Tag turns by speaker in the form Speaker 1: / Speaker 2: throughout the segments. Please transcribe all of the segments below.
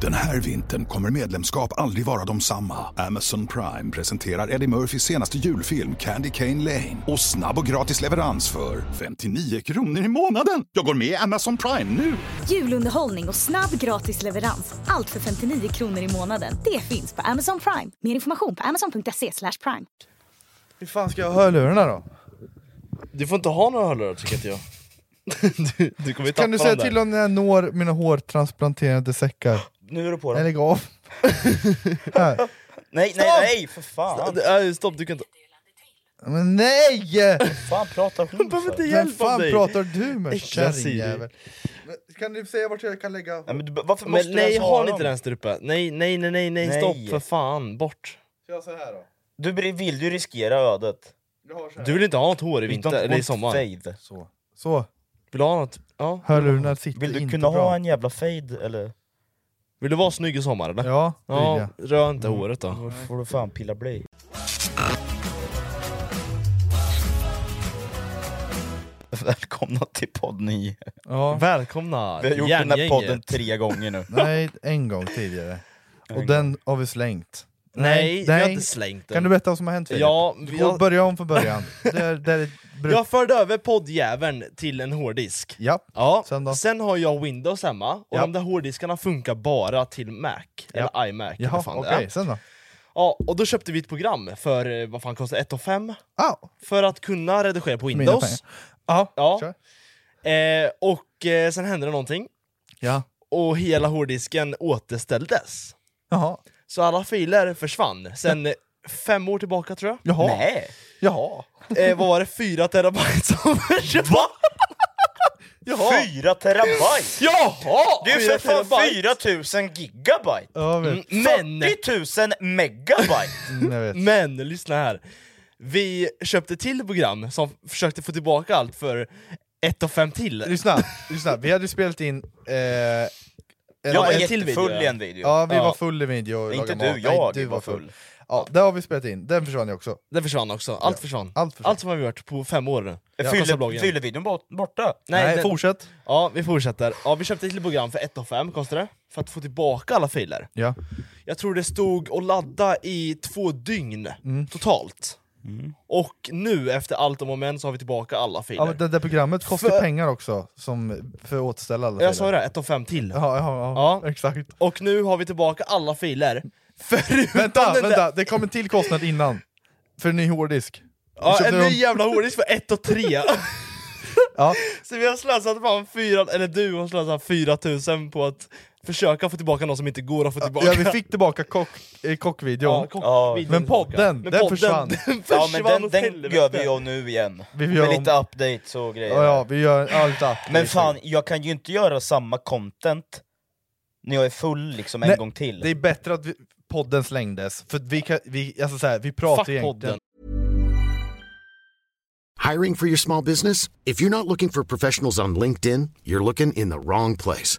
Speaker 1: Den här vintern kommer medlemskap aldrig vara de samma. Amazon Prime presenterar Eddie Murphys senaste julfilm Candy Cane Lane. Och snabb och gratis leverans för 59 kronor i månaden. Jag går med i Amazon Prime nu!
Speaker 2: Julunderhållning och snabb gratis leverans. Allt för 59 kronor i månaden. Det finns på Amazon Prime. Mer information på amazon.se slash prime.
Speaker 3: Hur fan ska jag ha hörlurarna då?
Speaker 4: Du får inte ha några hörlurar tycker inte jag. Du, du kommer ju tappa
Speaker 3: Kan du säga
Speaker 4: dem där.
Speaker 3: till om när jag når mina hårtransplanterade säckar?
Speaker 4: Nu är du på
Speaker 3: Nej
Speaker 4: dem.
Speaker 3: lägg av! Här.
Speaker 4: Nej, nej,
Speaker 3: Stopp!
Speaker 4: nej för fan!
Speaker 5: äh,
Speaker 4: Nej, stopp, du kan inte...
Speaker 3: Men nej!
Speaker 4: Fan pratar hon
Speaker 3: Varför
Speaker 4: för?
Speaker 3: Vem fan pratar du med
Speaker 4: Äckliga Siri.
Speaker 3: kärringjävel? Men Kan du säga vart jag kan lägga?
Speaker 4: Nej, men du, varför
Speaker 5: Men
Speaker 4: måste du
Speaker 5: nej,
Speaker 4: ens
Speaker 5: håll
Speaker 4: ha
Speaker 5: inte
Speaker 4: dem?
Speaker 5: den där uppe. Nej, nej, nej, nej, nej,
Speaker 4: Nej.
Speaker 5: stopp för fan, bort.
Speaker 3: Ska jag så här då?
Speaker 4: Du bri- vill ju riskera ödet.
Speaker 3: Jag har så här.
Speaker 5: Du vill inte ha något hår i vinter,
Speaker 4: Don't
Speaker 5: eller i
Speaker 4: want
Speaker 5: sommar?
Speaker 4: Fade.
Speaker 3: Så. Så,
Speaker 5: Vill du ha något? Ja.
Speaker 3: hörlurarna sitter
Speaker 4: Vill du
Speaker 3: inte
Speaker 4: kunna
Speaker 3: bra.
Speaker 4: ha en jävla fade eller?
Speaker 5: Vill du vara snygg i sommar eller?
Speaker 3: Ja, det vill
Speaker 5: Ja,
Speaker 3: jag.
Speaker 5: rör inte
Speaker 4: Mm.
Speaker 5: håret då.
Speaker 4: Då får du fan pilla blöj. Välkomna till podd 9.
Speaker 3: ja.
Speaker 5: Välkomna
Speaker 4: Vi har gjort den här
Speaker 5: järngänget.
Speaker 4: podden tre gånger nu.
Speaker 3: Nej, en gång tidigare. Och den har vi slängt.
Speaker 5: Nej, jag har inte slängt den.
Speaker 3: Kan du berätta vad som har hänt Filip?
Speaker 5: Ja,
Speaker 3: Du
Speaker 5: vi
Speaker 3: får
Speaker 5: har-
Speaker 3: Börja om från början. där, där är bruk...
Speaker 5: Jag förde över poddjäveln till en hårddisk.
Speaker 3: Ja.
Speaker 5: Ja,
Speaker 3: Sen då?
Speaker 5: sen, har jag Windows hemma, och
Speaker 3: Ja.
Speaker 5: de där hårddiskarna funkar bara till Mac, eller iMac. eller
Speaker 3: Jaha,
Speaker 5: fan
Speaker 3: okej,
Speaker 5: det är.
Speaker 3: sen då?
Speaker 5: Ja, och då köpte vi ett program för, eh, vad fan kostar det? 1 5
Speaker 3: Ah,
Speaker 5: För att kunna redigera på
Speaker 3: Mina
Speaker 5: Windows.
Speaker 3: ja,
Speaker 5: Ja.
Speaker 3: kör.
Speaker 5: Eh, och eh, sen hände det någonting,
Speaker 3: Ja.
Speaker 5: och hela hårddisken återställdes.
Speaker 3: Jaha.
Speaker 5: Så alla filer försvann, sen eh, fem år tillbaka tror jag.
Speaker 3: Jaha.
Speaker 4: Nej!
Speaker 3: Jaha.
Speaker 5: Eh, vad var det? Fyra terabyte som försvann!
Speaker 3: Jaha.
Speaker 4: Fyra terabyte!
Speaker 5: Jaha!
Speaker 4: Det är ju för
Speaker 5: Fyra
Speaker 4: fan
Speaker 5: terabyte.
Speaker 4: 4000 gigabyte!
Speaker 3: Ja, jag vet.
Speaker 5: Men!
Speaker 4: 40 000 megabyte!
Speaker 3: Mm, jag vet.
Speaker 5: Men lyssna här. Vi köpte till program som försökte få tillbaka allt för ett och fem till.
Speaker 3: Lyssna, lyssna, vi hade spelat in... Eh, en,
Speaker 4: Jag var
Speaker 5: en till
Speaker 4: jättefull
Speaker 5: video.
Speaker 4: i en video.
Speaker 3: ja, vi
Speaker 5: ja.
Speaker 3: var full i video och
Speaker 4: Inte
Speaker 3: lagade
Speaker 4: du,
Speaker 3: mat.
Speaker 4: jag var full.
Speaker 3: Ja, där har vi spelat in, den försvann ju också.
Speaker 5: Det försvann också. Allt försvann.
Speaker 3: allt försvann.
Speaker 5: som har vi gjort på fem år. nu.
Speaker 4: Ja,
Speaker 5: Kostar
Speaker 4: Fyller
Speaker 5: bloggen.
Speaker 4: fyller videon bort- borta?
Speaker 5: Nej,
Speaker 3: Nej,
Speaker 5: den-
Speaker 3: fortsätt.
Speaker 5: Ja, vi fortsätter. Ja, vi köpte till program för ett och fem kostade det. För att få tillbaka alla filer.
Speaker 3: Ja.
Speaker 5: Jag tror det stod och ladda i två dygn
Speaker 3: Mm.
Speaker 5: totalt. Och nu efter allt om och men så har vi tillbaka alla
Speaker 3: Ja,
Speaker 5: filer.
Speaker 3: men det där programmet kostar
Speaker 5: För-
Speaker 3: pengar också, som, för att återställa alla
Speaker 5: Jag
Speaker 3: filer.
Speaker 5: sa ju det, ett och fem till.
Speaker 3: Ja, ja, ja,
Speaker 5: Ja.
Speaker 3: exakt.
Speaker 5: Och nu har vi tillbaka alla filer. Förutom
Speaker 3: Vänta,
Speaker 5: den där-
Speaker 3: vänta, det kom en till kostnad innan. För en ny hårddisk. Vi
Speaker 5: Ja,
Speaker 3: köpte
Speaker 5: en
Speaker 3: dem-
Speaker 5: ny jävla hårddisk för 1 och 3
Speaker 3: Ja.
Speaker 5: Så vi har slösat fan fyra, eller du har slösat 4000 på att försöka få tillbaka någon som inte går att få tillbaka
Speaker 3: Ja, vi fick tillbaka kock, eh, kockvideon.
Speaker 5: Ja, kock-
Speaker 4: Ja.
Speaker 5: videon
Speaker 3: Men podden,
Speaker 5: tillbaka.
Speaker 3: den försvann.
Speaker 5: den
Speaker 4: Ja men
Speaker 5: försvann
Speaker 4: den,
Speaker 5: åt
Speaker 4: den
Speaker 5: helvete.
Speaker 4: gör vi om nu igen.
Speaker 3: Vi gör
Speaker 4: Med
Speaker 3: om-
Speaker 4: lite updates och grejer.
Speaker 3: ja, ja, vi gör allt att-
Speaker 4: Men fan, jag kan ju inte göra samma content när jag är full liksom en
Speaker 3: Nej,
Speaker 4: gång till.
Speaker 3: Det är bättre att vi, podden slängdes, för vi, kan, vi, alltså så här, vi pratar
Speaker 5: Fuck
Speaker 3: egentligen...
Speaker 5: podden.
Speaker 6: Hiring for your small business? If you're not looking for professionals on LinkedIn, you're looking in the wrong place.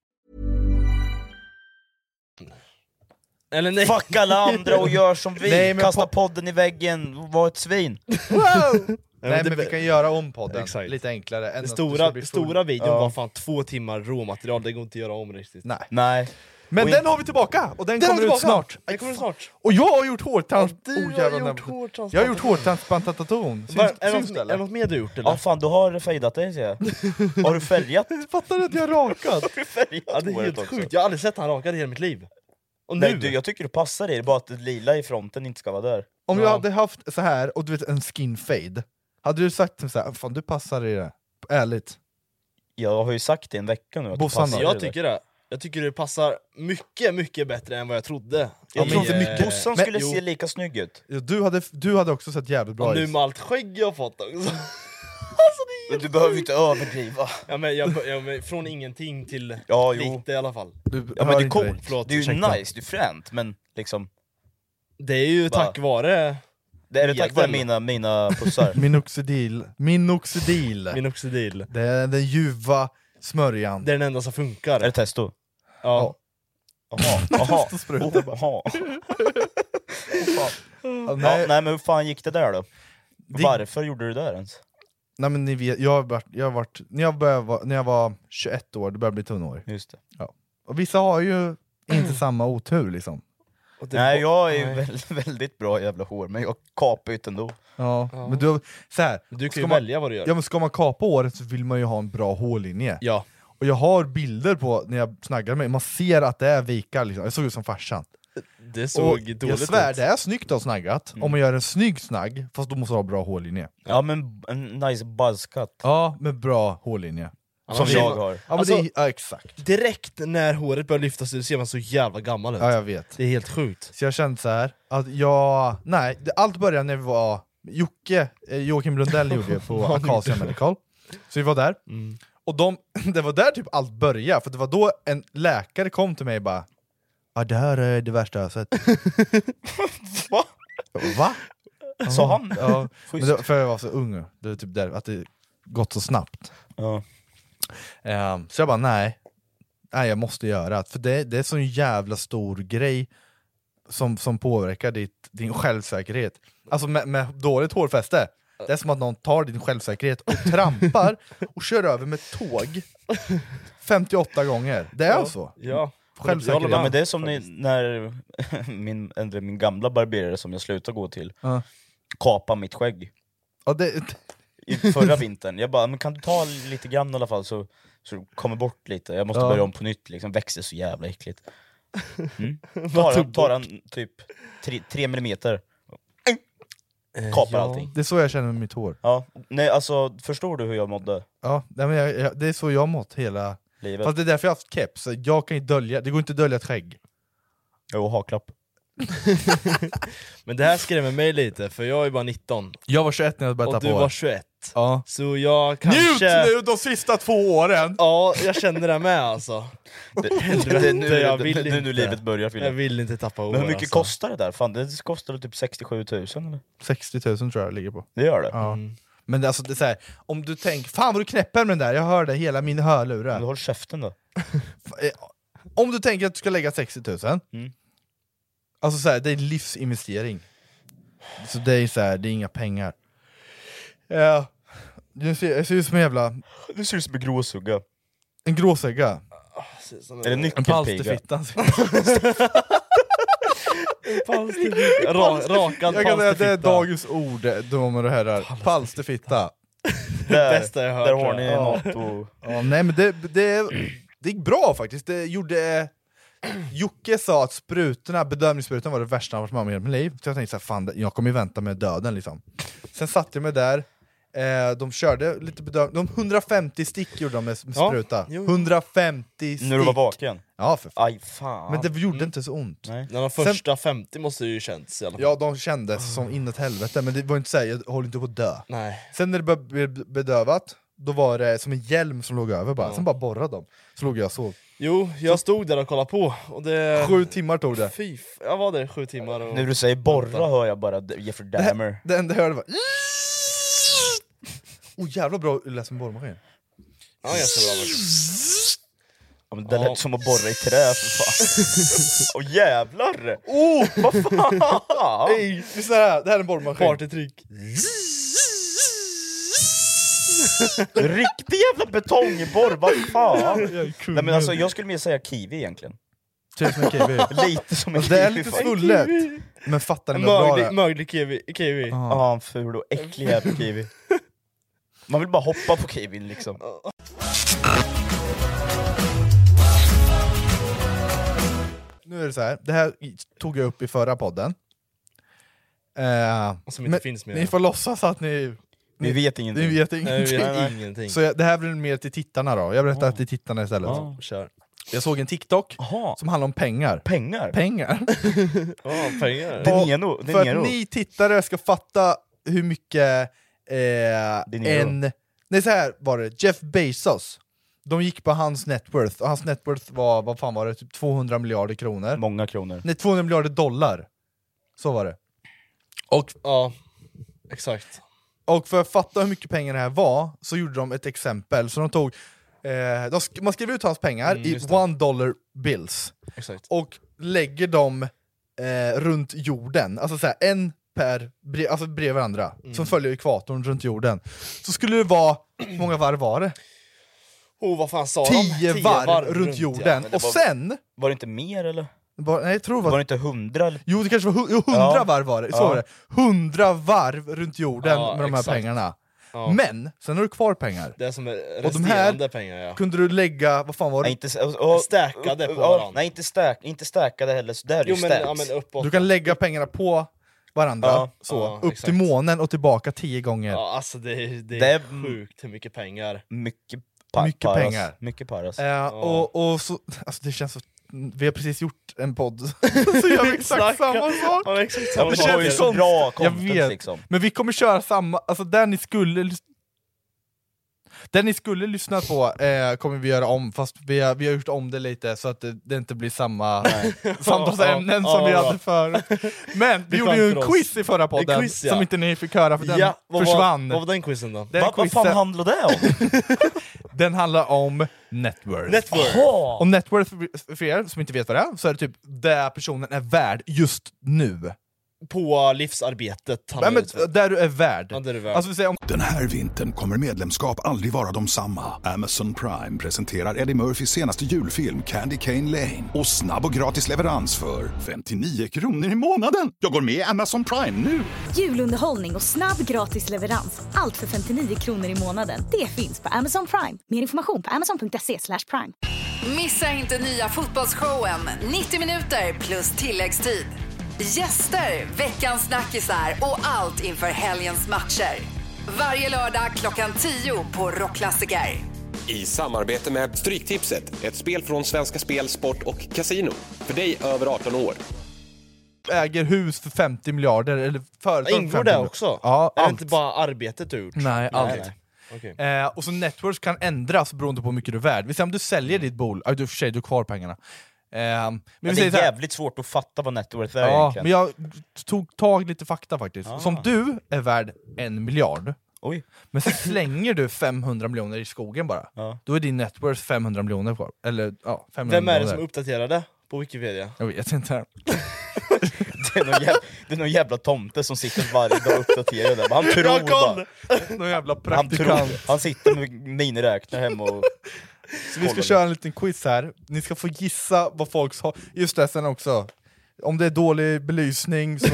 Speaker 5: Eller nej.
Speaker 4: Fuck alla andra och gör som vi,
Speaker 3: Nej, men
Speaker 4: kasta
Speaker 3: po-
Speaker 4: podden i väggen och var ett svin.
Speaker 3: Nej men
Speaker 5: det-
Speaker 3: vi kan göra om podden
Speaker 5: Exakt.
Speaker 3: lite enklare. Än att
Speaker 5: Den
Speaker 3: du ska bli
Speaker 5: stora,
Speaker 3: full.
Speaker 5: stora videon var fan två timmar råmaterial, det går inte att göra om riktigt.
Speaker 3: Nej.
Speaker 4: Nej.
Speaker 3: Men
Speaker 5: Och i-
Speaker 3: den har vi tillbaka! Och den,
Speaker 5: Den
Speaker 3: kommer
Speaker 5: har
Speaker 3: ut
Speaker 5: tillbaka.
Speaker 3: snart.
Speaker 5: Den kommer snart.
Speaker 3: Och jag har gjort hårtransplantation!
Speaker 5: Du har gjort hårtransplantation.
Speaker 3: Jag har gjort hårtransplantation. Syns,
Speaker 5: Var, är,
Speaker 3: syns
Speaker 5: något,
Speaker 3: det
Speaker 5: är det
Speaker 3: eller?
Speaker 5: något mer du gjort eller?
Speaker 4: Ja fan, du har fejdat dig ser jag. Har du färgat?
Speaker 3: Fattar du att jag har rakat?
Speaker 4: färgat
Speaker 5: Ja, det är
Speaker 4: håret
Speaker 5: helt
Speaker 4: också?
Speaker 5: sjukt, jag har aldrig sett han rakad i hela mitt liv. Och nu?
Speaker 4: Nej du, jag tycker du passar i det, bara att det lila i fronten inte ska vara där.
Speaker 3: Om jag hade haft så här och du vet en skin fade, hade du sagt till mig så här, fan du passar i det, ärligt.
Speaker 4: Jag har ju sagt det i en vecka nu att du
Speaker 3: Bossan
Speaker 4: passar
Speaker 3: då?
Speaker 4: i
Speaker 5: jag
Speaker 4: det
Speaker 5: tycker det. Jag tycker det passar mycket, mycket bättre än vad jag trodde.
Speaker 4: Jag tror inte
Speaker 5: eh,
Speaker 4: mycket. Bossan
Speaker 5: men-
Speaker 4: skulle
Speaker 5: jo.
Speaker 4: se lika snygg ut.
Speaker 3: Du hade, du hade också sett jävligt bra
Speaker 5: Och nu
Speaker 3: ut.
Speaker 5: med allt skägg jag har fått också.
Speaker 4: Men du behöver ju inte överdriva.
Speaker 5: Ja, men jag, jag, men från ingenting till
Speaker 4: Ja, jo.
Speaker 5: lite i alla fall.
Speaker 3: Du
Speaker 4: Ja
Speaker 3: hör
Speaker 4: men det är
Speaker 3: inte
Speaker 4: coolt,
Speaker 3: dig.
Speaker 5: Förlåt,
Speaker 4: det är ju
Speaker 5: ursäkta.
Speaker 4: nice, det är fränt men liksom...
Speaker 5: Det är ju
Speaker 4: Bara-
Speaker 5: tack vare
Speaker 4: Det är det
Speaker 5: Nya
Speaker 4: tack vare
Speaker 5: kvällen.
Speaker 4: mina, mina pussar.
Speaker 3: Minoxidil, minoxidil.
Speaker 5: minoxidil.
Speaker 3: det är den ljuva smörjan.
Speaker 5: Det är den enda som funkar.
Speaker 4: är det testo?
Speaker 5: Ja.
Speaker 4: Jaha, jaha.
Speaker 3: sprutar bara.
Speaker 4: jaha.
Speaker 3: Ja,
Speaker 4: Ja,
Speaker 3: nej,
Speaker 4: nej men hur fan gick det där då?
Speaker 3: Det-
Speaker 4: Varför gjorde du det där ens?
Speaker 3: nej men ni vet, jag har varit, jag har varit när, jag började, vara- när jag var 21 år, det började bli tunnhår.
Speaker 4: Just det.
Speaker 3: Och vissa har ju inte samma otur liksom.
Speaker 5: Och det-
Speaker 4: Nej jag är ju väldigt, väldigt bra jävla hår, men jag kapar ju det ändå.
Speaker 3: Ja, Men du, har- så här,
Speaker 5: Du kan
Speaker 3: ska
Speaker 5: ju
Speaker 3: man,
Speaker 5: välja vad du gör.
Speaker 3: Ja men ska man kapa håret så vill man ju ha en bra hårlinje.
Speaker 5: Ja.
Speaker 3: Och jag har bilder på när jag snaggade mig, man ser att det är vikar liksom. Jag såg ut som farsan.
Speaker 5: Det såg
Speaker 3: och
Speaker 5: dåligt
Speaker 3: jag svär,
Speaker 5: ut.
Speaker 3: det är snyggt att ha snaggat, om man gör en snygg snagg, fast då måste du ha bra hårlinje.
Speaker 4: Ja men en nice buzzcut.
Speaker 3: Ja, med bra hårlinje.
Speaker 4: Som
Speaker 5: Annars-
Speaker 4: jag har.
Speaker 3: Ja, men
Speaker 5: Alltså-
Speaker 3: det, är- ja exakt.
Speaker 5: Direkt när håret börjar lyftas ut ser man så jävla gammal ut.
Speaker 3: Ja, jag vet.
Speaker 5: Det är helt sjukt.
Speaker 3: Så jag kände så här att jag... Nej, det, allt började när vi var... Jocke, eh, Joakim Lundell gjorde det på Acacia Medical. Så vi var där.
Speaker 4: Mm.
Speaker 3: Och de, det var där typ allt började, för det var då en läkare kom till mig och bara Ja, det här är det värsta jag har sett.
Speaker 4: Va?
Speaker 3: Va?
Speaker 4: Sa han?
Speaker 3: Ja, men
Speaker 4: Schysst.
Speaker 3: det, för jag var så ung, det är typ där, att det gått så snabbt.
Speaker 4: Ja.
Speaker 3: Ehm, så jag bara, nej, nej jag måste göra det. För det, det är så en jävla stor grej som, som påverkar ditt, din självsäkerhet. Alltså med, med dåligt hårfäste, det är som att någon tar din självsäkerhet och trampar och kör över med tåg 58 gånger. Det är så.
Speaker 5: Ja.
Speaker 3: Självsäkerhet.
Speaker 4: Ja men det är som ni, när min, ändå min gamla barberare som jag slutade gå till,
Speaker 3: Ja.
Speaker 4: kapade mitt skägg
Speaker 3: Ja, det,
Speaker 4: i förra vintern. Jag bara, men kan du ta lite grann i alla fall så, så det kommer bort lite, jag måste
Speaker 3: Ja.
Speaker 4: börja om på nytt liksom, växer så jävla äckligt. Mm. Tar, han, tar han typ tre, tre millimeter,
Speaker 5: Eh,
Speaker 4: kapar allting.
Speaker 3: det är så jag känner med mitt hår.
Speaker 4: Ja. Nej alltså, förstår du hur jag mådde?
Speaker 3: Ja, nej, men jag, jag, det är så jag har mått hela...
Speaker 4: Livet.
Speaker 3: Fast det är därför jag har haft keps, så jag kan ju dölja, det går inte att dölja ett skägg.
Speaker 4: Jo, haklapp.
Speaker 5: Men det här skrämmer mig lite, för jag är bara 19
Speaker 3: Jag var 21 när jag började
Speaker 5: och
Speaker 3: tappa
Speaker 5: du
Speaker 3: hår.
Speaker 5: var 21.
Speaker 3: Ja.
Speaker 5: Så jag
Speaker 3: Njut
Speaker 5: kanske...
Speaker 3: nu de sista två åren!
Speaker 5: Ja, jag känner det med alltså.
Speaker 4: Det är nu,
Speaker 5: jag
Speaker 4: det-
Speaker 5: vill
Speaker 4: det- det är nu
Speaker 5: inte.
Speaker 4: livet börjar Fille.
Speaker 5: Jag vill inte tappa hår
Speaker 4: Men hur mycket
Speaker 5: alltså.
Speaker 4: kostar det där? Fan, det kostar typ 67 000 eller?
Speaker 3: 60 000 tror jag det ligger på.
Speaker 4: Det Mm. gör det?
Speaker 3: Ja. Men det, är alltså, det är så här, om du tänker, fan vad du knäpper med den där, jag hör det hela min hörlura.
Speaker 4: Men håll käften då.
Speaker 3: F- eh, Om du tänker att du ska lägga 60 000, alltså så här, det är en livsinvestering. Så det är så här, det är inga pengar. Ja. Jag ser, jag ser ut som en jävla,
Speaker 4: Du ser ut som en gråsugga.
Speaker 3: en gråsegga.
Speaker 4: Eller
Speaker 3: En
Speaker 4: nyckelpiga.
Speaker 3: palsterfitta.
Speaker 5: Ra, rakad
Speaker 3: Jag kan säga att det
Speaker 5: palsterfitta.
Speaker 3: är dagens ord, de och det här är. Palsterfitta.
Speaker 4: Där,
Speaker 5: bästa jag hört,
Speaker 4: där har
Speaker 5: tror
Speaker 4: ni
Speaker 5: jag. Ja.
Speaker 4: något och...
Speaker 3: Ja, nej men det, det, det gick bra faktiskt. Det gjorde... Jocke sa att sprutorna, bedövningssprutan var det värsta han varit med om i hela mitt liv. Så jag tänkte såhär, fan det- jag kommer ju vänta med döden liksom. Sen satte jag mig där, eh, de körde lite bedövning, de 150 stick gjorde de med, med
Speaker 5: Ja,
Speaker 3: spruta.
Speaker 5: jo.
Speaker 3: 150 stick!
Speaker 4: Nu du var vaken?
Speaker 3: Ja för fan.
Speaker 4: Aj fan.
Speaker 3: Men det gjorde
Speaker 5: Mm.
Speaker 3: inte så ont.
Speaker 4: Nej.
Speaker 5: När de första 50 måste ju känts i alla fall.
Speaker 3: Ja de kändes som inåt helvete, men det var inte såhär, jag håller inte på att dö.
Speaker 5: Nej.
Speaker 3: Sen när det började bli bedövat, då var det som en hjälm som låg över bara, sen bara borrade de. Så låg jag och sov.
Speaker 5: Jo, jag stod där och kollade på och det...
Speaker 3: Sju timmar tog det.
Speaker 5: Fy, f- jag var där i sju timmar och...
Speaker 4: Nu du säger borra hör jag bara D- Jeffrey Dahmer.
Speaker 3: Det enda jag hörde var... Oh, jävla bra lät som borrmaskin.
Speaker 5: Ja, jag ser bra ut.
Speaker 4: Ja, men det lät som att borra i trä för fan. Åh jävlar!
Speaker 5: Oh!
Speaker 4: Vad fan!
Speaker 3: Ey, lyssna här, det här är en borrmaskin.
Speaker 5: Partytrick.
Speaker 4: Riktig jävla betongborr, vad fan! Nej men alltså jag skulle mer säga kiwi egentligen.
Speaker 3: Tusen Typ kiwi. Alltså,
Speaker 4: Lite som en
Speaker 3: Det är
Speaker 4: kiwi
Speaker 3: lite
Speaker 4: fan.
Speaker 3: svullet, men fattar ni vad bra
Speaker 5: Möglig,
Speaker 3: det är?
Speaker 5: möglig kiwi. kiwi.
Speaker 4: Ja, en ful och äcklig jävla kiwi. Man vill bara hoppa på kiwin liksom.
Speaker 3: Nu är det så här. det här tog jag upp i förra podden. Eh,
Speaker 5: Som inte
Speaker 3: men
Speaker 5: finns mer.
Speaker 3: Ni får låtsas att ni,
Speaker 4: Vi vet ingenting.
Speaker 3: ni vet
Speaker 5: Nej, vi
Speaker 3: ingenting.
Speaker 5: vet
Speaker 4: Nej, nej.
Speaker 5: ingenting.
Speaker 3: Så jag, det här blir mer till tittarna då, jag berättar till tittarna istället.
Speaker 4: Ja.
Speaker 5: Kör.
Speaker 3: Jag såg en TikTok
Speaker 4: Jaha,
Speaker 3: som handlar om pengar.
Speaker 4: pengar?
Speaker 3: Pengar.
Speaker 5: Ja, pengar.
Speaker 4: De Niro, De
Speaker 3: För
Speaker 4: Niro.
Speaker 3: att ni tittare ska fatta hur mycket
Speaker 4: De
Speaker 3: eh,
Speaker 4: Niro.
Speaker 3: en... Nej så här var det, Jeff Bezos. De gick på hans net worth, och hans net worth var, vad fan var det, typ 200 miljarder kronor?
Speaker 4: Många kronor.
Speaker 3: Nej, 200 miljarder dollar. Så var det. Och,
Speaker 5: Ja, exakt.
Speaker 3: och för att fatta hur mycket pengar det här var, så gjorde de ett exempel. Så de tog, eh, de sk- man skrev ut hans pengar i one dollar bills,
Speaker 5: exakt.
Speaker 3: och lägger dem eh, runt jorden, alltså så här, en per, bre- alltså bredvid varandra, som följer ekvatorn runt jorden. Så skulle det vara, hur många varv var det?
Speaker 5: Oh, vad fan sa de?
Speaker 3: Tio, varv, runt,
Speaker 5: ja.
Speaker 3: jorden,
Speaker 4: men det
Speaker 3: och
Speaker 4: var-
Speaker 3: sen,
Speaker 4: Var det inte mer eller?
Speaker 3: bara, nej jag tror det var
Speaker 4: Var det inte hundra? eller?
Speaker 3: Jo, det kanske var hu- jo, hundra
Speaker 4: Ja.
Speaker 3: varv var det. Så
Speaker 4: Ja.
Speaker 3: var det. Hundra varv runt jorden
Speaker 5: Ja,
Speaker 3: med de här
Speaker 5: exakt.
Speaker 3: pengarna.
Speaker 5: Ja.
Speaker 3: Men, sen har du kvar pengar.
Speaker 5: Det som är
Speaker 3: Och de här-
Speaker 5: resterande pengar ja.
Speaker 3: Kunde du lägga, vad fan var det?
Speaker 4: Nej inte s- och- och-
Speaker 5: Stackade på
Speaker 4: och- och-
Speaker 5: varandra.
Speaker 4: Nej inte, stack, inte stackade heller, så där är
Speaker 5: Jo
Speaker 4: ju
Speaker 5: men,
Speaker 4: stacks.
Speaker 5: ja, men uppåt.
Speaker 3: Du kan lägga pengarna på varandra,
Speaker 4: Ja,
Speaker 3: så,
Speaker 5: ja,
Speaker 3: upp
Speaker 5: exakt.
Speaker 3: till månen och tillbaka tio gånger.
Speaker 5: Ja, alltså det, är- det,
Speaker 4: Det
Speaker 5: är
Speaker 4: är-
Speaker 5: sjukt hur mycket pengar.
Speaker 4: Mycket, pa-
Speaker 3: Mycket
Speaker 4: paras.
Speaker 3: pengar.
Speaker 4: Mycket paras.
Speaker 3: Eh, Och, och så, alltså det känns så, vi har precis gjort en podd, så gör vi exakt samma sak!
Speaker 5: Ja, exakt
Speaker 4: Ja,
Speaker 5: samma
Speaker 4: men det
Speaker 5: sak.
Speaker 4: var ju så bra
Speaker 3: Jag
Speaker 4: content
Speaker 3: vet,
Speaker 4: liksom.
Speaker 3: men vi kommer köra samma, alltså där ni skulle lys- där ni skulle lyssna på eh, kommer vi göra om, fast vi har, vi har gjort om det lite så att det, det inte blir samma samtalsämnen
Speaker 5: Ja,
Speaker 3: som
Speaker 5: ja,
Speaker 3: vi
Speaker 5: ja.
Speaker 3: hade förut. Men vi
Speaker 5: är
Speaker 3: gjorde
Speaker 5: skönt för
Speaker 3: ju en
Speaker 5: oss.
Speaker 3: quiz i förra podden
Speaker 5: quiz, ja.
Speaker 3: som inte ni fick höra för den
Speaker 5: Ja, vad
Speaker 3: försvann.
Speaker 5: Var, vad var den quizen då?
Speaker 3: den,
Speaker 4: Va, vad fan
Speaker 3: quizen,
Speaker 4: handlar det om?
Speaker 3: den handlar om networth.
Speaker 5: Network!
Speaker 4: Jaha!
Speaker 3: och networth för- för er som inte vet vad det är, så är det typ det personen är värd just nu.
Speaker 5: På livsarbetet.
Speaker 3: Nej, men,
Speaker 5: handlar det
Speaker 3: där du är värd.
Speaker 5: Ja, där du är värd.
Speaker 3: Alltså, vi säger, om
Speaker 1: Den här vintern kommer medlemskap aldrig vara de samma. Amazon Prime presenterar Eddie Murphys senaste julfilm Candy Cane Lane. Och snabb och gratis leverans för 59 kronor i månaden. Jag går med i Amazon Prime nu!
Speaker 2: Julunderhållning och snabb gratis leverans. Allt för 59 kronor i månaden. Det finns på Amazon Prime. Mer information på amazon.se slash prime.
Speaker 7: Missa inte nya fotbollsshowen 90 minuter plus tilläggstid. Gäster, veckans snackisar och allt inför helgens matcher. Varje lördag klockan 10 på Rockklassiker.
Speaker 8: I samarbete med Stryktipset, ett spel från Svenska Spel, Sport och Casino. För dig över 18 år.
Speaker 3: äger hus för 50 miljarder, eller företag för 50
Speaker 5: Ingår det
Speaker 3: miljarder.
Speaker 5: också?
Speaker 3: Ja,
Speaker 5: är det
Speaker 3: allt. Mm,
Speaker 5: inte bara arbetet du gjort?
Speaker 3: Nej, allt.
Speaker 5: Okej.
Speaker 3: Eh, och så networks kan ändras beroende på hur mycket du är värd. Vi säger om du säljer
Speaker 5: Mm.
Speaker 3: ditt bolag, ah, du för sig, du har kvar pengarna. Eh, men vi
Speaker 4: Men det
Speaker 3: säger
Speaker 4: är
Speaker 3: så här-
Speaker 4: jävligt svårt att fatta vad networth är
Speaker 3: ja,
Speaker 4: egentligen. Ah.
Speaker 3: men jag tog tag i lite fakta faktiskt. Som du är värd en miljard,
Speaker 4: Oj.
Speaker 3: men sen slänger du 500 miljoner i skogen bara.
Speaker 4: Ja.
Speaker 3: Då är din network 500 miljoner kvar. Eller ja, 500
Speaker 5: Vem är det
Speaker 3: miljoner.
Speaker 5: som uppdaterade på Wikipedia?
Speaker 3: Jag vet inte.
Speaker 4: Det, är någon jävla, det är någon jävla tomte som sitter varje dag och uppdaterar det. Men Han tror bara.
Speaker 3: Någon jävla
Speaker 4: Han,
Speaker 3: praktikant.
Speaker 4: tror, han sitter med miniräknare hemma och...
Speaker 3: Så vi ska köra en liten quiz här, ni ska få gissa vad folk har... Just det, sen också, om det är dålig belysning så...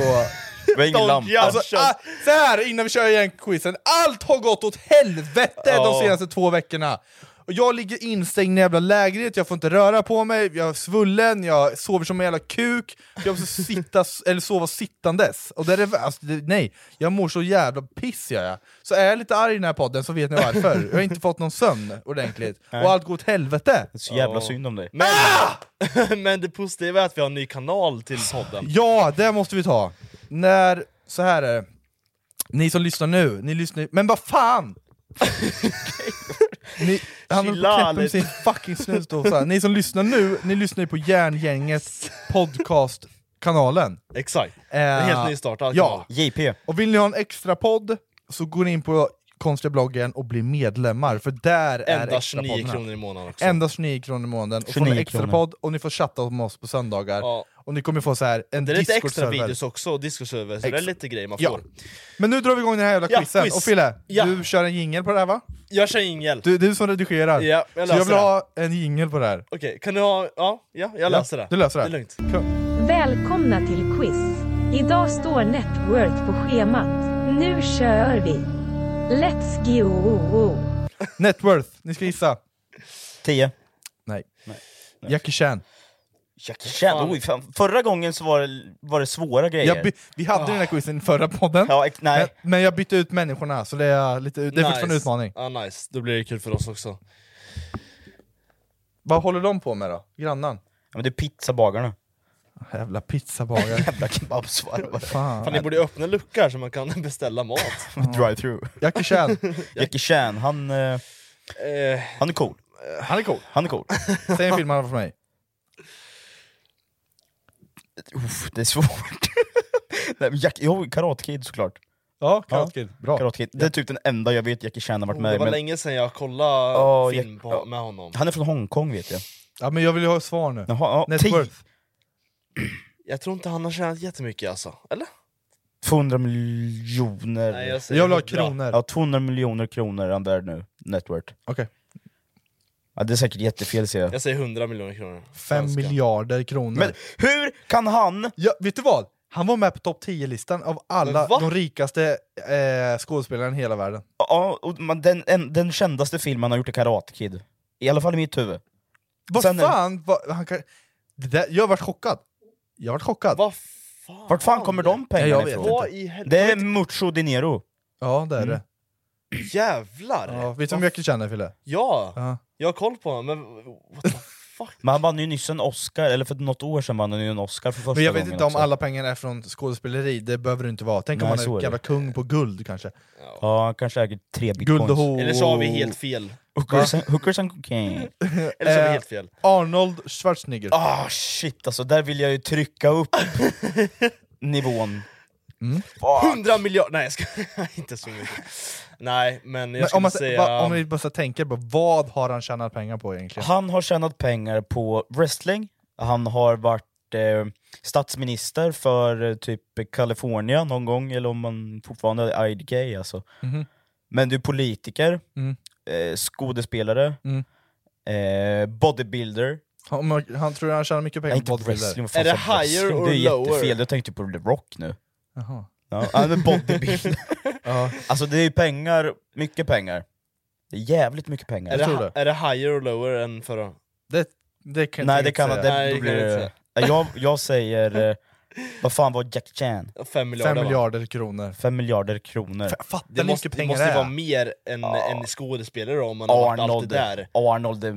Speaker 4: Vi har ingen lampa.
Speaker 3: alltså, ah, så här innan vi kör igen quizen, allt har gått åt helvete
Speaker 4: Ja.
Speaker 3: de senaste två veckorna! Och jag ligger instängd i en jävla lägret, jag får inte röra på mig, jag är svullen, jag sover som en jävla kuk, jag måste sitta, eller sova sittandes. Och det är det, alltså, det, nej, jag mår så jävla piss gör jag. Så är jag lite arg i den här podden så vet ni varför. Jag har inte fått någon sömn ordentligt, och allt går åt helvete.
Speaker 4: Så jävla synd om dig.
Speaker 5: Men, men det positiva är att vi har en ny kanal till podden.
Speaker 3: Ja, det måste vi ta! När, så här är det. Ni som lyssnar nu, ni lyssnar men vad fan! ni, han håller på
Speaker 4: Chilla
Speaker 3: och knäpper med
Speaker 4: lite.
Speaker 3: sin fucking snus då, så här. Ni som lyssnar nu, ni lyssnar ju på Järngängets podcastkanalen.
Speaker 5: Exakt.
Speaker 3: Eh,
Speaker 5: är helt nystartad
Speaker 3: Ja,
Speaker 5: kanal.
Speaker 4: JP.
Speaker 3: och vill ni ha en extra podd så går ni in på konstiga bloggen och bli medlemmar, för där är
Speaker 5: Endast 29
Speaker 3: extrapoddarna.
Speaker 5: kronor i månaden också.
Speaker 3: Endast 29 kronor i månaden, och får ni
Speaker 5: 29
Speaker 3: extra
Speaker 5: kronor.
Speaker 3: podd och ni får chatta med oss på söndagar.
Speaker 5: Ja.
Speaker 3: Och ni kommer få så här en
Speaker 5: Det är lite extra
Speaker 3: Discord-server.
Speaker 5: videos också, och discoserver, så det är
Speaker 3: Ex-
Speaker 5: lite grejer man
Speaker 3: Ja.
Speaker 5: får.
Speaker 3: Men nu drar vi igång den här jävla
Speaker 5: Ja,
Speaker 3: quizen,
Speaker 5: quiz.
Speaker 3: och Fille,
Speaker 5: Ja.
Speaker 3: du kör en jingel på det här va?
Speaker 5: Jag kör jingel.
Speaker 3: Du, du som redigerar,
Speaker 5: Ja, jag
Speaker 3: så jag
Speaker 5: löser
Speaker 3: vill
Speaker 5: det.
Speaker 3: ha en jingel på det här.
Speaker 5: Okej, kan du ha... Ja, ja jag löser det.
Speaker 3: Du löser det.
Speaker 5: Det är lugnt.
Speaker 9: Välkomna till Quiz. Idag står Networth på schemat. Nu kör vi. Let's go!
Speaker 3: Net worth, ni ska gissa.
Speaker 4: 10.
Speaker 3: Nej. Jackie Chan.
Speaker 4: Jackie Chan, oj, fan. Förra gången så var det, var det svåra grejer.
Speaker 3: Jag by- vi hade den här
Speaker 5: Ah.
Speaker 3: quizen i förra podden,
Speaker 4: Ja, ex- nej.
Speaker 3: Men, men jag bytte ut människorna, så det är, lite, det är fortfarande en utmaning.
Speaker 5: Ja, nice. Då blir det kul för oss också.
Speaker 3: Vad håller de på med då? Grannan?
Speaker 4: Ja, men det är pizzabagarna.
Speaker 3: Jävla pizzabagare.
Speaker 4: Jävla kebabsvarvare.
Speaker 3: Fan.
Speaker 5: Fan, ni borde öppna en lucka här så man kan beställa mat.
Speaker 4: Drive-through.
Speaker 3: Jackie Chan.
Speaker 4: Jackie Chan, han, eh,
Speaker 5: eh,
Speaker 4: han är cool.
Speaker 3: Han är cool.
Speaker 4: Han är cool.
Speaker 3: Säg en film han har för mig.
Speaker 4: Uff, det är svårt. Nej, men Jack, jo, Karate Kid såklart.
Speaker 3: Ja,
Speaker 4: Karate
Speaker 3: Kid. Bra.
Speaker 4: Karate Kid. Det är typ den enda jag vet Jackie Chan har varit
Speaker 5: oh, det
Speaker 4: med i.
Speaker 5: var
Speaker 4: men-
Speaker 5: länge sedan jag kollade
Speaker 4: Ja,
Speaker 5: film
Speaker 4: Jack-
Speaker 5: på,
Speaker 4: ja.
Speaker 5: med honom.
Speaker 4: Han är från Hongkong vet jag.
Speaker 3: Ja, men jag vill ju ha svar nu.
Speaker 4: Jaha, ja,
Speaker 3: Net
Speaker 4: 10.
Speaker 3: worth.
Speaker 5: Jag tror inte han har tjänat jättemycket alltså. Eller?
Speaker 4: 200 miljoner.
Speaker 5: Nej, jag säger
Speaker 3: Jag vill ha
Speaker 5: bra.
Speaker 3: kronor.
Speaker 4: Ja, 200 miljoner kronor är han värd nu, net worth.
Speaker 3: Okej.
Speaker 4: Ja, det är säkert jättefel ser jag.
Speaker 5: Jag säger 100 miljoner kronor.
Speaker 3: Fem
Speaker 5: Svenska.
Speaker 3: miljarder kronor.
Speaker 4: Men hur kan han...
Speaker 3: Ja, vet du vad? Han var med på topp 10-listan av alla
Speaker 5: Men va?
Speaker 3: de rikaste eh, skådespelarna i hela världen.
Speaker 4: Ja, och man, den, en, den kändaste filmen han har gjort är Karate Kid. I alla fall i mitt huvud.
Speaker 3: Vad
Speaker 4: Sen-
Speaker 3: fan? Vad, han kan, det där, jag varit chockad. Jag varit chockad.
Speaker 5: Vad fan?
Speaker 4: Vart fan kommer de pengarna
Speaker 3: jag vet
Speaker 4: ifrån?
Speaker 5: Vad i helvete?
Speaker 4: Det är Mucho Di Niro.
Speaker 3: Ja, det är
Speaker 4: Mm.
Speaker 3: det.
Speaker 5: Jävlar!
Speaker 3: Ja, vet du
Speaker 5: Vad
Speaker 3: vem Jackie Chan är, Fille?
Speaker 5: Ja,
Speaker 3: Ja.
Speaker 5: jag har koll på honom, men what the fuck?
Speaker 4: Men han vann ju nyss en Oscar, eller för något år sedan vann han ju en Oscar för första
Speaker 3: Men jag vet
Speaker 4: gången
Speaker 3: inte om
Speaker 4: också.
Speaker 3: alla pengar är från skådespeleri, det behöver det inte vara. Tänk om
Speaker 4: Nej,
Speaker 3: han
Speaker 4: så
Speaker 3: är
Speaker 4: är
Speaker 3: en
Speaker 4: det.
Speaker 3: jävla kung på guld kanske.
Speaker 4: Ja, han kanske äger tre bitcoins.
Speaker 3: Guld och ho.
Speaker 5: Eller så har vi helt fel.
Speaker 4: Hookers and, hookers and cocaine.
Speaker 5: Eller så har vi
Speaker 3: Oh. Eh.
Speaker 5: helt fel.
Speaker 3: Arnold Schwarzenegger.
Speaker 4: Ah shit alltså, där vill jag ju trycka upp nivån.
Speaker 5: 100 miljarder! Nej jag ska inte så mycket. Nej, men jag
Speaker 3: Men
Speaker 5: skulle
Speaker 3: om, man,
Speaker 5: säga...
Speaker 3: va, om vi bara så tänker på, vad har han tjänat pengar på egentligen?
Speaker 4: Han har tjänat pengar på wrestling, han har varit eh, statsminister för eh, typ Kalifornien någon gång, eller om man fortfarande är IDK alltså. Men du är politiker,
Speaker 3: Mhm. Mm.
Speaker 4: eh, skådespelare,
Speaker 3: Mm.
Speaker 4: eh, bodybuilder,
Speaker 5: Ah.
Speaker 3: Han, han, han tror han tjänar mycket
Speaker 4: Nej,
Speaker 3: pengar
Speaker 4: inte
Speaker 3: på bodybuilder.
Speaker 4: wrestling, vad fan
Speaker 5: Är det
Speaker 4: sa wrestling?
Speaker 5: higher or
Speaker 4: Det är
Speaker 5: lower?
Speaker 4: jättefel, jag tänkte på The Rock nu.
Speaker 3: Jaha.
Speaker 4: Ja, han är bodybuilder.
Speaker 3: Ja.
Speaker 4: Alltså det är ju pengar, mycket pengar. Det är jävligt mycket pengar.
Speaker 5: är, det,
Speaker 3: jag tror
Speaker 5: ha- är det higher och lower än förra?
Speaker 3: Det, det kan
Speaker 4: Nej
Speaker 3: jag
Speaker 4: det
Speaker 3: inte
Speaker 4: kan
Speaker 3: säga.
Speaker 4: det,
Speaker 5: Nej,
Speaker 4: då
Speaker 5: det
Speaker 4: blir
Speaker 5: kan jag
Speaker 4: det...
Speaker 5: inte
Speaker 4: Nej, Jag, jag säger, eh, vad fan var Jack Chan?
Speaker 5: Fem miljarder va?
Speaker 3: Fem miljarder kronor.
Speaker 4: Fem miljarder kronor.
Speaker 3: F- Fattar
Speaker 5: Det
Speaker 3: hur
Speaker 5: måste,
Speaker 3: mycket
Speaker 5: det
Speaker 3: pengar
Speaker 5: måste
Speaker 3: det
Speaker 5: ju
Speaker 3: är.
Speaker 5: vara mer än en skådespelare om man har varit allt
Speaker 4: Arnold,
Speaker 5: det där.
Speaker 4: Arnold eh,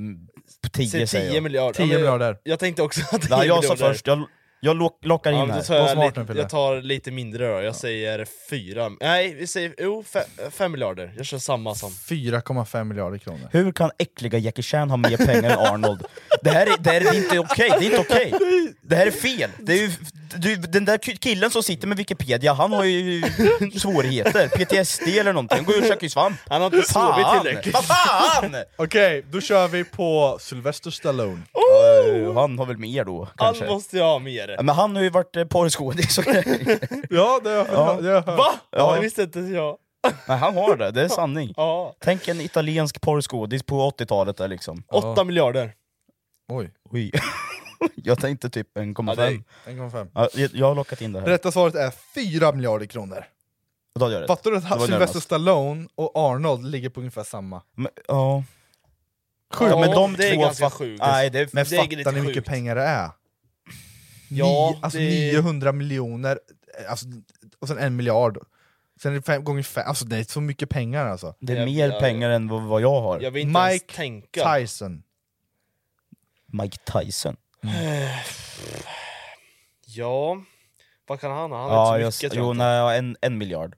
Speaker 4: på 10
Speaker 5: Säg
Speaker 4: säger
Speaker 5: 10
Speaker 4: jag.
Speaker 5: miljarder.
Speaker 3: 10
Speaker 5: Ja, men-
Speaker 3: miljarder.
Speaker 5: Jag tänkte också att 10
Speaker 4: Nej, jag sa
Speaker 5: miljarder.
Speaker 4: först, jag, jag lo- lockar in
Speaker 5: Ja, men då
Speaker 4: här.
Speaker 5: tar
Speaker 3: Var smart
Speaker 5: jag,
Speaker 3: nu,
Speaker 5: lite,
Speaker 3: Pelle.
Speaker 5: jag tar lite mindre då, jag säger fyra. Nej, vi säger jo, fe- fem miljarder. Jag kör samma som.
Speaker 3: 4,5 miljarder kronor.
Speaker 4: Hur kan äckliga Jackie Chan ha mer pengar än Arnold? Det här är, det här är inte okej, det är inte okej! Det här är fel! Det är ju, du, den där killen som sitter med Wikipedia, han har ju svårigheter, PTSD eller någonting, han går ju och käkar ju svamp!
Speaker 5: Han har inte sovit
Speaker 4: Fan!
Speaker 5: tillräckligt.
Speaker 4: Vad fan!
Speaker 3: Okej, då kör vi på Sylvester Stallone.
Speaker 4: Eh, Han har väl mer då,
Speaker 5: Han
Speaker 4: kanske?
Speaker 5: måste ju ha mer.
Speaker 4: Ja, Men han har ju varit eh, porrskådis och grejer.
Speaker 3: Ja, det har jag hört. Det har jag hört.
Speaker 5: Va? Ja.
Speaker 4: Ja.
Speaker 5: Det visste inte jag.
Speaker 4: Nej, han har det, det är sanning.
Speaker 5: Ja.
Speaker 4: Tänk en italiensk porrskådis på 80-talet där liksom.
Speaker 5: åtta miljarder.
Speaker 3: Oj,
Speaker 4: Oj. Jag tänkte typ 1,5.
Speaker 5: Ja, det är-
Speaker 3: 1,5.
Speaker 4: Ja, jag- jag har lockat in det här.
Speaker 3: Rätta svaret är 4 miljarder kronor.
Speaker 4: Då gör jag rätt.
Speaker 3: Fattar du att
Speaker 4: var
Speaker 3: Sylvester
Speaker 4: närmast.
Speaker 3: Stallone och Arnold ligger på ungefär samma?
Speaker 4: Men, ja.
Speaker 5: Sjukt.
Speaker 4: Ja, men de
Speaker 5: Det är
Speaker 4: två
Speaker 5: ganska
Speaker 4: fatt-
Speaker 5: sjukt.
Speaker 4: Nej, det är
Speaker 3: Men
Speaker 5: Det är lite
Speaker 3: fattar ni hur mycket
Speaker 5: sjukt.
Speaker 3: pengar det är?
Speaker 5: Ja,
Speaker 3: Ni, alltså
Speaker 5: det-
Speaker 3: 900 miljoner, eh, alltså, och sen en miljard. Sen är det fem gånger fem, alltså det är så mycket pengar alltså.
Speaker 4: det är
Speaker 5: Jag-
Speaker 4: mer
Speaker 5: jag-
Speaker 4: pengar än vad, vad jag har.
Speaker 5: Jag vill inte ens
Speaker 3: Mike
Speaker 5: tänka.
Speaker 3: Tyson.
Speaker 4: Mike Tyson.
Speaker 5: Ja, vad kan han ha? Han har
Speaker 4: Ja,
Speaker 5: inte
Speaker 4: jag,
Speaker 5: så mycket tror
Speaker 4: jo,
Speaker 5: jag.
Speaker 4: nej, ja, en, en miljard.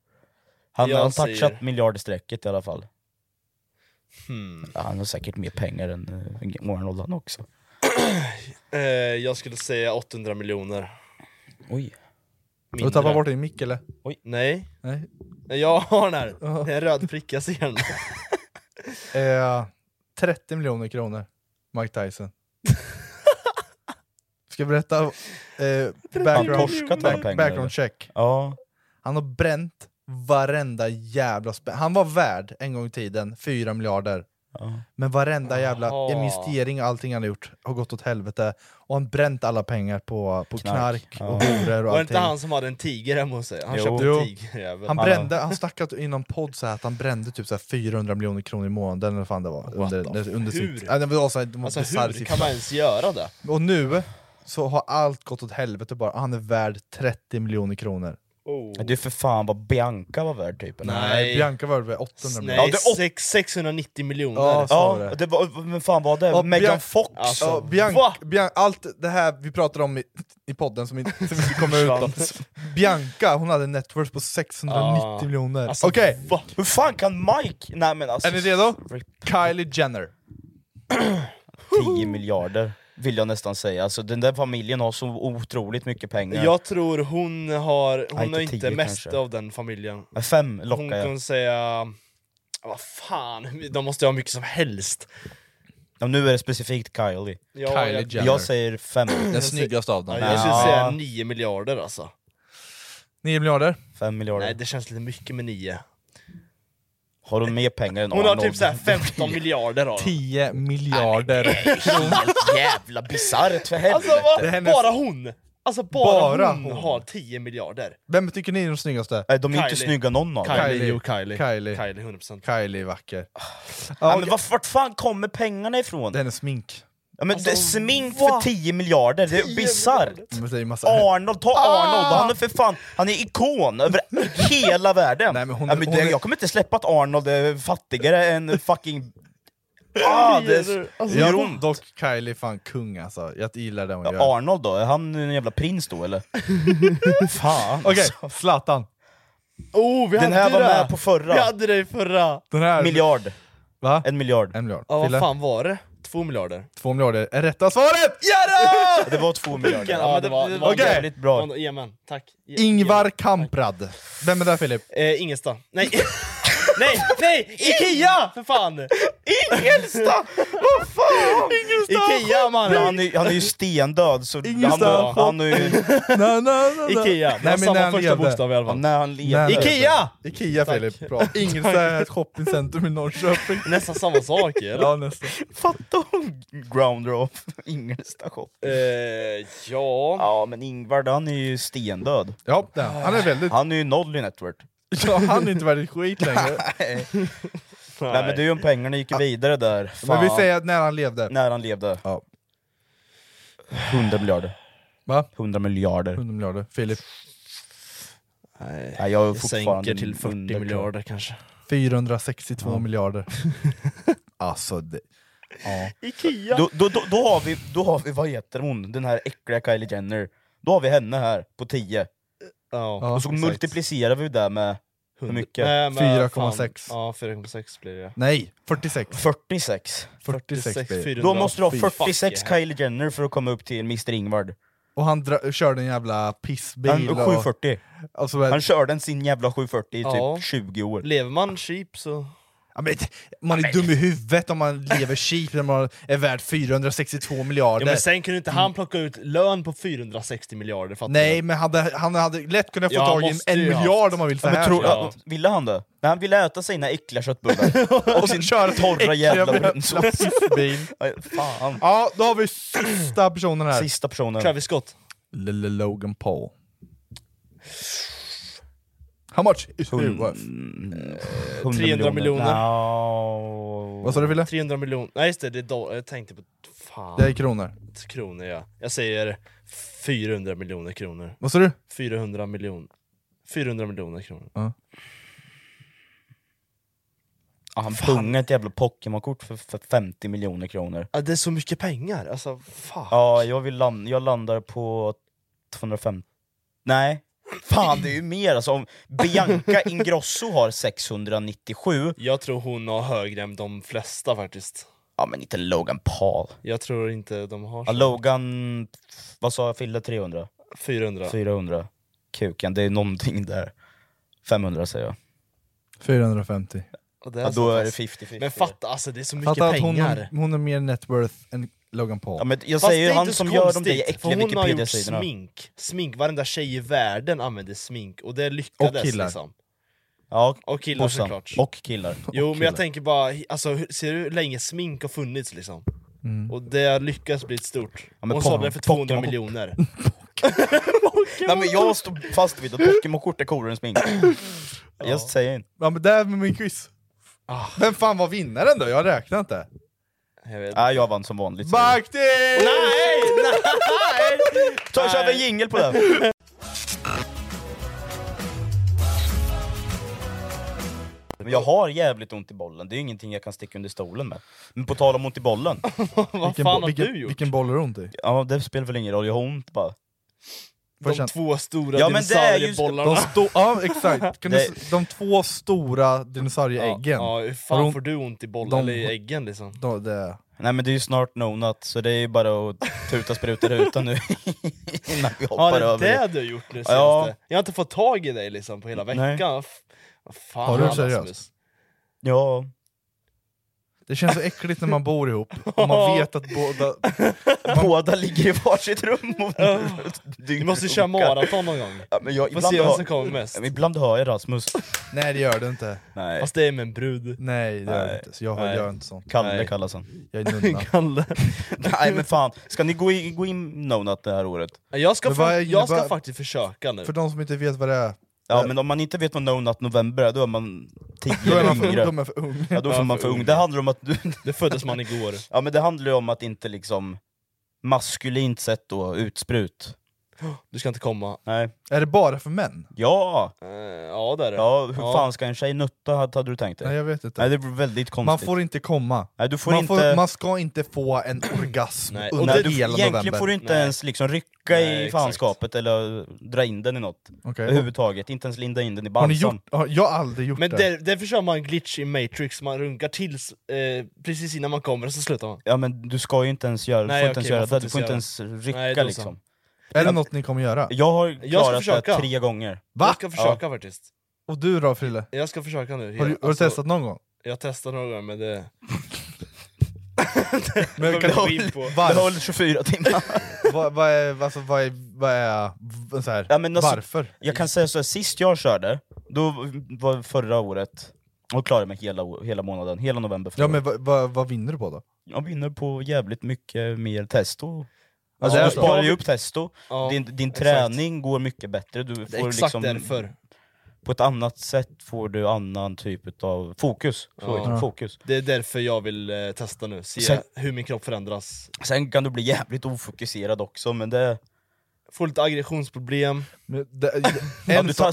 Speaker 4: Han
Speaker 5: Jag
Speaker 4: har
Speaker 5: säger-
Speaker 4: touchat miljardstrecket i alla fall.
Speaker 5: Hmm.
Speaker 4: Ja, han har säkert mer pengar än eh, Arnold han också.
Speaker 5: Eh, jag skulle säga 800 miljoner.
Speaker 4: Oj.
Speaker 3: Har du tappat bort din mick eller?
Speaker 5: Nej.
Speaker 3: Nej.
Speaker 5: Nej, Jag har den här. Det är en röd prick, jag ser den.
Speaker 3: Eh, 30 miljoner kronor, Mike Tyson. Ska jag berätta? Eh, background,
Speaker 4: torskat alla pengar, eller?
Speaker 3: background check.
Speaker 4: Ja.
Speaker 3: Han har bränt varenda jävla spänn. Han var värd en gång i tiden 4 miljarder. Men varenda jävla
Speaker 4: Jaha.
Speaker 3: investering och allting han har gjort har gått åt helvete. Och han bränt alla pengar på, på knark, och horor och
Speaker 5: Var det inte
Speaker 3: allting.
Speaker 5: han som hade en tiger hemma hos sig? Han
Speaker 3: Jo.
Speaker 5: köpte
Speaker 3: Jo.
Speaker 5: en tigerjävel.
Speaker 3: Han brände, han stackade i någon podd så här att han brände typ så här 400 miljoner kronor i månaden eller vad fan det var. Under, under sitt,
Speaker 5: Hur?
Speaker 3: ja, det var så här, det var
Speaker 5: Alltså
Speaker 3: en bisarr
Speaker 5: hur
Speaker 3: siffra.
Speaker 5: kan man ens göra det?
Speaker 3: Och nu så har allt gått åt helvete bara. Han är värd 30 miljoner kronor.
Speaker 4: Men det är för fan vad Bianca var värd typ. eller?
Speaker 3: Nej, Bianca var väl 800
Speaker 5: Nej,
Speaker 3: miljoner.
Speaker 5: sex- 690 miljoner.
Speaker 3: Ja, så var det.
Speaker 4: Ja, det var, men fan var det?
Speaker 3: Ja,
Speaker 4: Megan
Speaker 3: Bian-
Speaker 4: Fox?
Speaker 3: Alltså, ja, Bian- Bian- allt det här vi pratade om i, i podden som inte, som inte kommer ut. om. Bianca, hon hade en net worth på 690
Speaker 4: Ja.
Speaker 3: miljoner.
Speaker 4: Alltså,
Speaker 3: Okej,
Speaker 4: va? Hur fan kan Mike... Nej men alltså...
Speaker 3: är ni redo? Kylie Jenner.
Speaker 4: 10 miljarder, vill jag nästan säga. Alltså den där familjen har så otroligt mycket pengar.
Speaker 5: Jag tror hon har, hon
Speaker 4: Nej, inte
Speaker 5: har inte
Speaker 4: tio
Speaker 5: mest
Speaker 4: kanske.
Speaker 5: av den familjen.
Speaker 4: Men Fem
Speaker 5: Hon
Speaker 4: lockar jag.
Speaker 5: kan säga... Vad fan, de måste ju ha mycket som helst.
Speaker 4: Ja, nu är det specifikt Kylie.
Speaker 5: Ja, Kylie jag- Jenner.
Speaker 4: Jag säger fem.
Speaker 3: Den snyggaste av
Speaker 5: Ja,
Speaker 3: dem.
Speaker 5: jag skulle säga 9 miljarder alltså.
Speaker 3: 9 miljarder.
Speaker 4: Fem miljarder.
Speaker 5: Nej, det känns lite mycket med 9.
Speaker 4: Har hon mer pengar än
Speaker 5: Hon har
Speaker 4: Arnold?
Speaker 5: typ såhär 15 miljarder av
Speaker 3: 10 miljarder.
Speaker 4: Helt jävla bisarrt
Speaker 5: Alltså
Speaker 4: för helvete.
Speaker 5: vad,
Speaker 3: Det är hennes-
Speaker 5: bara hon! Alltså bara,
Speaker 3: Bara
Speaker 5: hon,
Speaker 3: hon.
Speaker 5: har 10 miljarder.
Speaker 3: Vem tycker ni är de snyggaste?
Speaker 4: Nej, de är inte
Speaker 5: Kylie.
Speaker 4: snygga någon av dem.
Speaker 5: Kylie,
Speaker 3: Kylie.
Speaker 5: jo Kylie.
Speaker 3: Kylie.
Speaker 5: Kylie Ah. 100%.
Speaker 3: Kylie är vacker.
Speaker 4: Ja, men vart, vart fan kommer pengarna ifrån?
Speaker 3: Det är hennes smink.
Speaker 4: Ja, men det,
Speaker 5: Alltså,
Speaker 4: smink för 10 miljarder, det är bisarrt!
Speaker 5: Ah.
Speaker 3: Men det är ju massa-
Speaker 4: Arnold, ta
Speaker 3: Ah!
Speaker 4: Arnold! Han är för fan, han är ikon över hela världen!
Speaker 3: Nej, men hon
Speaker 4: ja,
Speaker 3: är-
Speaker 4: men
Speaker 3: hon
Speaker 4: det,
Speaker 3: är-
Speaker 4: jag kommer inte släppa att Arnold är fattigare än fucking... Ah, det är...
Speaker 3: alltså, Jag tror dock Kylie är fan kung alltså. Jag gillar det hon
Speaker 5: ah,
Speaker 3: gör.
Speaker 4: Arnold då, är han en jävla prins då eller? fan
Speaker 3: Okej,
Speaker 4: alltså.
Speaker 3: Zlatan.
Speaker 5: Oh, vi
Speaker 4: Den
Speaker 5: hade
Speaker 4: här var
Speaker 5: det.
Speaker 4: med på
Speaker 5: Vi
Speaker 4: förra,
Speaker 5: hade det i förra!
Speaker 3: Den här...
Speaker 4: miljard,
Speaker 3: Va?
Speaker 4: en miljard.
Speaker 3: En miljard.
Speaker 5: Ja, vad
Speaker 3: Fille,
Speaker 5: fan var det? 2 miljarder.
Speaker 3: två miljarder är rätta svaret! Ja
Speaker 4: Det var två miljarder.
Speaker 5: Ja, men det var- det var
Speaker 3: okej.
Speaker 4: jävligt bra.
Speaker 5: Ja, Jajamän, tack. Ja,
Speaker 3: Ingvar Kamprad. Vem är det Filip?
Speaker 5: Eh, Ingelstad. Nej! nej, nej! Ikea! För fan!
Speaker 4: Ingelstad! Vad fan!
Speaker 5: Ikea
Speaker 4: Ja,
Speaker 5: mannen!
Speaker 4: han, är, han är ju stendöd, så han,
Speaker 3: Ingenstans.
Speaker 4: han är ju...
Speaker 3: na, na, na,
Speaker 5: Ikea.
Speaker 3: Nej, men
Speaker 5: samma
Speaker 3: när han
Speaker 5: första
Speaker 3: levde.
Speaker 5: bokstav i alla
Speaker 4: Ja,
Speaker 5: fall.
Speaker 4: när han lever.
Speaker 3: Nej, nej.
Speaker 5: Ikea!
Speaker 3: Ikea
Speaker 5: Tack.
Speaker 3: Filip, bra. Ingelstad shoppingcentrum i Norrköping.
Speaker 5: Nästan samma sak ju, eller?
Speaker 3: Ja, nästan.
Speaker 4: Fattar hon grounder of Ingelsta shop?
Speaker 5: Eh, ja...
Speaker 4: Ja men Ingvar han är ju stendöd.
Speaker 3: Ja, det är han. han är väldigt...
Speaker 4: Han är ju noll i network.
Speaker 3: Ja, han är inte värd ett skit längre.
Speaker 4: Nej. Nej men det är ju om pengarna gick vidare där. Fan.
Speaker 3: Men vi säger att när han levde.
Speaker 4: När han levde.
Speaker 3: Ja.
Speaker 4: 100 miljarder.
Speaker 3: Va?
Speaker 4: 100 miljarder.
Speaker 3: 100 miljarder. Filip.
Speaker 5: Nej,
Speaker 4: Nej, jag är
Speaker 5: jag sänker
Speaker 4: fortfarande
Speaker 5: till 40
Speaker 4: under-
Speaker 5: miljarder kanske.
Speaker 3: 462 miljarder. Alltså, det... Ja.
Speaker 5: Ikea!
Speaker 4: Då, då, då, då, har vi, då har vi, vad heter hon, den här äckliga Kylie Jenner. Då har vi henne här på 10.
Speaker 5: Ja,
Speaker 3: Ja,
Speaker 4: Och så
Speaker 3: exakt.
Speaker 4: multiplicerar vi det med hur mycket?
Speaker 5: Nej, men fan.
Speaker 3: 4,6.
Speaker 5: Ja, 4,6 blir det.
Speaker 3: Nej, 46.
Speaker 4: 46.
Speaker 3: 46 blir det.
Speaker 5: 400.
Speaker 4: Då måste du ha
Speaker 5: Fy
Speaker 4: 46
Speaker 5: fuck, yeah.
Speaker 4: Kylie Jenner för att komma upp till Mr Ingvard.
Speaker 3: Och han dra- körde en jävla pissbil.
Speaker 4: Han,
Speaker 3: och-
Speaker 4: 740.
Speaker 3: och alltså, så-
Speaker 4: Han körde en sin jävla 740 i typ
Speaker 5: Ja.
Speaker 4: 20 år.
Speaker 5: Lever man cheap så...
Speaker 3: Ja, men, man är dum i huvudet om man lever cheap när man är värd 462
Speaker 5: Ja,
Speaker 3: miljarder.
Speaker 5: men sen kunde inte han plocka ut lön på 460 miljarder, fattar
Speaker 3: Nej, men hade, han hade lätt kunnat få
Speaker 5: Ja,
Speaker 3: tag i en,
Speaker 5: måste
Speaker 3: en
Speaker 5: ju ha
Speaker 3: miljard
Speaker 5: haft.
Speaker 3: om man vill så
Speaker 4: Ja, men
Speaker 3: här.
Speaker 4: tro,
Speaker 5: ja.
Speaker 4: Ville han det? Nej, han ville äta sina äckliga köttbullar. och sin
Speaker 3: köra
Speaker 4: torra jävla
Speaker 3: jävla
Speaker 4: brunsås.
Speaker 3: pissbil.
Speaker 4: Aj, Fan.
Speaker 3: Ja, då har vi sista personen här.
Speaker 4: Sista personen.
Speaker 5: Travis Scott.
Speaker 3: Lille Logan Paul. How much is he worth?
Speaker 5: 300 miljoner.
Speaker 4: No.
Speaker 3: Vad sa du Wille?
Speaker 5: 300 miljoner. Nej just det, det är doll- jag tänkte på... Fan.
Speaker 3: Det är kronor.
Speaker 5: kronor ja. Jag säger 400 miljoner kronor.
Speaker 3: Vad sa du?
Speaker 5: 400 miljoner. 400 miljoner kronor.
Speaker 4: Ja, han pungade ett jävla Pokémon-kort för, för 50 miljoner kronor.
Speaker 5: Ja, det är så mycket pengar, alltså fan.
Speaker 4: Ja, jag, vill land, jag landar på 250... Nej. Fan det är ju mer alltså, om Bianca Ingrosso har 697,
Speaker 5: Jag tror hon har högre än de flesta faktiskt.
Speaker 4: ja men inte Logan Paul.
Speaker 5: Jag tror inte de har
Speaker 4: Ja,
Speaker 5: så.
Speaker 4: Logan, vad sa jag, Fille 300?
Speaker 5: 400.
Speaker 4: 400? Kuken, det är någonting där. 500 säger jag.
Speaker 3: 450.
Speaker 5: Och det är
Speaker 4: Ja, då
Speaker 5: så
Speaker 4: är det
Speaker 5: pass.
Speaker 4: 50-50.
Speaker 5: Men fatta alltså, det är så mycket
Speaker 3: Fatta att hon,
Speaker 5: pengar.
Speaker 3: hon är mer net worth än Logan Paul.
Speaker 4: Ja, men jag
Speaker 5: Fast
Speaker 4: säger
Speaker 5: det
Speaker 4: ju
Speaker 5: är
Speaker 4: han
Speaker 5: inte så
Speaker 4: som gör de
Speaker 5: konstigt,
Speaker 4: där
Speaker 5: för
Speaker 4: äckliga
Speaker 5: hon har gjort
Speaker 4: Wikipedia-sidorna.
Speaker 5: smink. Smink, varenda tjej i världen använder smink och det lyckades
Speaker 4: Och killar.
Speaker 5: liksom.
Speaker 4: Ja,
Speaker 5: och killar
Speaker 4: bossan.
Speaker 5: såklart.
Speaker 4: Och killar.
Speaker 5: Jo
Speaker 4: Och
Speaker 5: men
Speaker 4: killar.
Speaker 5: jag tänker bara, alltså hur- ser du hur länge smink har funnits liksom?
Speaker 4: Mm.
Speaker 5: Och det har lyckats bli stort.
Speaker 4: Ja, men
Speaker 5: hon
Speaker 4: Pok-
Speaker 5: sålde den för 200
Speaker 4: Pokémon-
Speaker 5: miljoner.
Speaker 4: Nej men jag står fast vid att Pokémon-kort är coolare än smink. Jag säger inte.
Speaker 3: Ja men det är med min quiz.
Speaker 4: Ah.
Speaker 3: Vem fan var vinnaren då? Jag räknar inte.
Speaker 4: Jag, jag vann som vanligt.
Speaker 3: Baktis!
Speaker 4: Nej! Ta och kör en jingel på den. Men jag har jävligt ont i bollen, det är ju ingenting jag kan sticka under stolen med. Men på tal om ont i bollen.
Speaker 3: Vilken, bo- vilken, vilken boll är du ont i?
Speaker 4: Ja det spelar väl ingen roll, jag har ont bara.
Speaker 3: Får jag
Speaker 5: två stora
Speaker 4: Ja, men det är just-
Speaker 3: De
Speaker 5: dinosauriebollarna.
Speaker 3: sto- ja exakt, kan du,
Speaker 5: Det-
Speaker 3: s- de två stora dinosaurieäggen.
Speaker 5: Ja, hur
Speaker 3: Har
Speaker 5: fan
Speaker 3: hon-
Speaker 5: får du ont i bollen
Speaker 3: de-
Speaker 5: eller i äggen liksom?
Speaker 3: Då, det,
Speaker 4: Nej men det är ju snart nonat, så det är ju bara att tuta sprutor utan nu innan vi hoppar
Speaker 5: Ja det är
Speaker 4: över
Speaker 5: det du har gjort nu senaste.
Speaker 4: Ja.
Speaker 5: Jag har inte fått tag i dig liksom på hela
Speaker 4: Nej.
Speaker 5: veckan. F- Vad fan
Speaker 3: Har du
Speaker 5: Rasmus?
Speaker 3: seriöst?
Speaker 4: Ja.
Speaker 3: det känns så äckligt när man bor ihop och man vet att båda...
Speaker 4: Båda ligger i varsitt rum och
Speaker 5: Du måste köra maraton någon gång.
Speaker 4: Ja, men jag,
Speaker 5: Får
Speaker 4: ibland
Speaker 5: se vem
Speaker 4: hör-
Speaker 5: som kommer mest.
Speaker 4: Ja, men Ibland hör jag Rasmus.
Speaker 3: Nej det gör du inte.
Speaker 4: Nej.
Speaker 5: Fast det är med en brud.
Speaker 3: Nej det gör du
Speaker 4: Nej.
Speaker 3: inte, så jag
Speaker 4: Nej.
Speaker 3: gör inte sånt.
Speaker 4: Kalle
Speaker 5: Nej.
Speaker 4: kallas han.
Speaker 3: Jag är nunna.
Speaker 5: Kalle.
Speaker 4: Nej men fan, ska ni gå in, gå in Nonat det här året?
Speaker 5: Jag ska,
Speaker 3: Men vad
Speaker 5: fa-
Speaker 3: är-
Speaker 5: jag ska
Speaker 3: vad-
Speaker 5: faktiskt försöka nu.
Speaker 3: För de som inte vet vad det är,
Speaker 4: Ja men om man inte vet vad Nonat november är, då är man 10
Speaker 3: Eh. då är man
Speaker 4: eller
Speaker 3: för,
Speaker 4: yngre.
Speaker 3: de är för ung.
Speaker 4: Ja då är man för ung. Det handlar om att du...
Speaker 5: Det föddes man igår.
Speaker 4: Ja men det handlar ju om att inte liksom maskulint sett då, utsprut.
Speaker 5: Du ska inte komma.
Speaker 4: Nej.
Speaker 3: Är det bara för män?
Speaker 4: Ja!
Speaker 5: Eh, ja det är det.
Speaker 4: Ja, hur fan ska en tjej nutta hade hade du tänkt dig?
Speaker 3: Nej jag vet inte.
Speaker 4: Nej det blir väldigt konstigt.
Speaker 3: Man får inte komma.
Speaker 4: Nej, du får
Speaker 3: man,
Speaker 4: inte...
Speaker 3: får, man ska inte få en orgasm
Speaker 5: Nej, och
Speaker 3: under
Speaker 4: Nej, du,
Speaker 3: hela
Speaker 4: egentligen
Speaker 3: november.
Speaker 4: får du inte
Speaker 5: Nej.
Speaker 4: ens liksom rycka
Speaker 5: Nej,
Speaker 4: i
Speaker 5: exakt.
Speaker 4: fanskapet eller dra in den i något.
Speaker 3: Okej.
Speaker 4: Överhuvudtaget, inte ens linda in den i
Speaker 3: Har
Speaker 4: balsam.
Speaker 3: ni gjort, har, jag har aldrig gjort
Speaker 5: Men
Speaker 3: det.
Speaker 5: där, därför kör man glitch i Matrix, man runkar tills eh, precis innan man kommer och så slutar man.
Speaker 4: Ja men du ska ju inte ens göra,
Speaker 5: Nej,
Speaker 4: du får inte ens
Speaker 5: okej,
Speaker 4: göra
Speaker 5: man får
Speaker 4: det, du får inte
Speaker 5: inte
Speaker 4: ens rycka
Speaker 5: Nej, då så.
Speaker 4: liksom.
Speaker 3: Är det något ni kommer göra?
Speaker 4: Jag har
Speaker 5: ska
Speaker 4: klarat det
Speaker 5: försöka.
Speaker 4: tre gånger.
Speaker 3: Va?
Speaker 5: Jag ska försöka faktiskt.
Speaker 3: Och du då Frille?
Speaker 5: Jag ska försöka nu.
Speaker 3: Har du, har du
Speaker 5: Alltså,
Speaker 3: testat någon gång?
Speaker 5: Jag testar några gånger men det...
Speaker 3: Men
Speaker 5: kan
Speaker 3: kan,
Speaker 5: vi gå in på.
Speaker 4: Det
Speaker 3: var,
Speaker 4: höll 24 timmar.
Speaker 3: vad, vad är, alltså, vad är, vad är v- så här,
Speaker 4: Ja, men alltså-
Speaker 3: varför?
Speaker 4: jag kan säga så här, sist jag körde, då var förra året, och klarade mig hela, å- hela månaden, hela november förra
Speaker 3: Ja men vad, vad, vad vinner du på då?
Speaker 4: året. Jag vinner på jävligt mycket mer testo.
Speaker 3: Ja,
Speaker 4: Alltså,
Speaker 3: det är
Speaker 4: du
Speaker 3: så.
Speaker 4: sparar ju upp testo,
Speaker 5: Ja,
Speaker 4: din, din
Speaker 5: exakt.
Speaker 4: träning går mycket bättre, du
Speaker 5: Det är
Speaker 4: får
Speaker 5: exakt
Speaker 4: liksom,
Speaker 5: därför.
Speaker 4: på ett annat sätt får du annan typ av fokus. Så
Speaker 5: Ja.
Speaker 4: heter det, fokus.
Speaker 5: Det är därför jag vill eh, testa nu, se
Speaker 4: Sen-
Speaker 5: hur min kropp förändras.
Speaker 4: Sen kan du bli jävligt ofokuserad också, men det...
Speaker 5: Får lite aggressionsproblem.
Speaker 3: Men det-
Speaker 4: Ja,
Speaker 3: en
Speaker 4: du
Speaker 3: sak-
Speaker 4: tar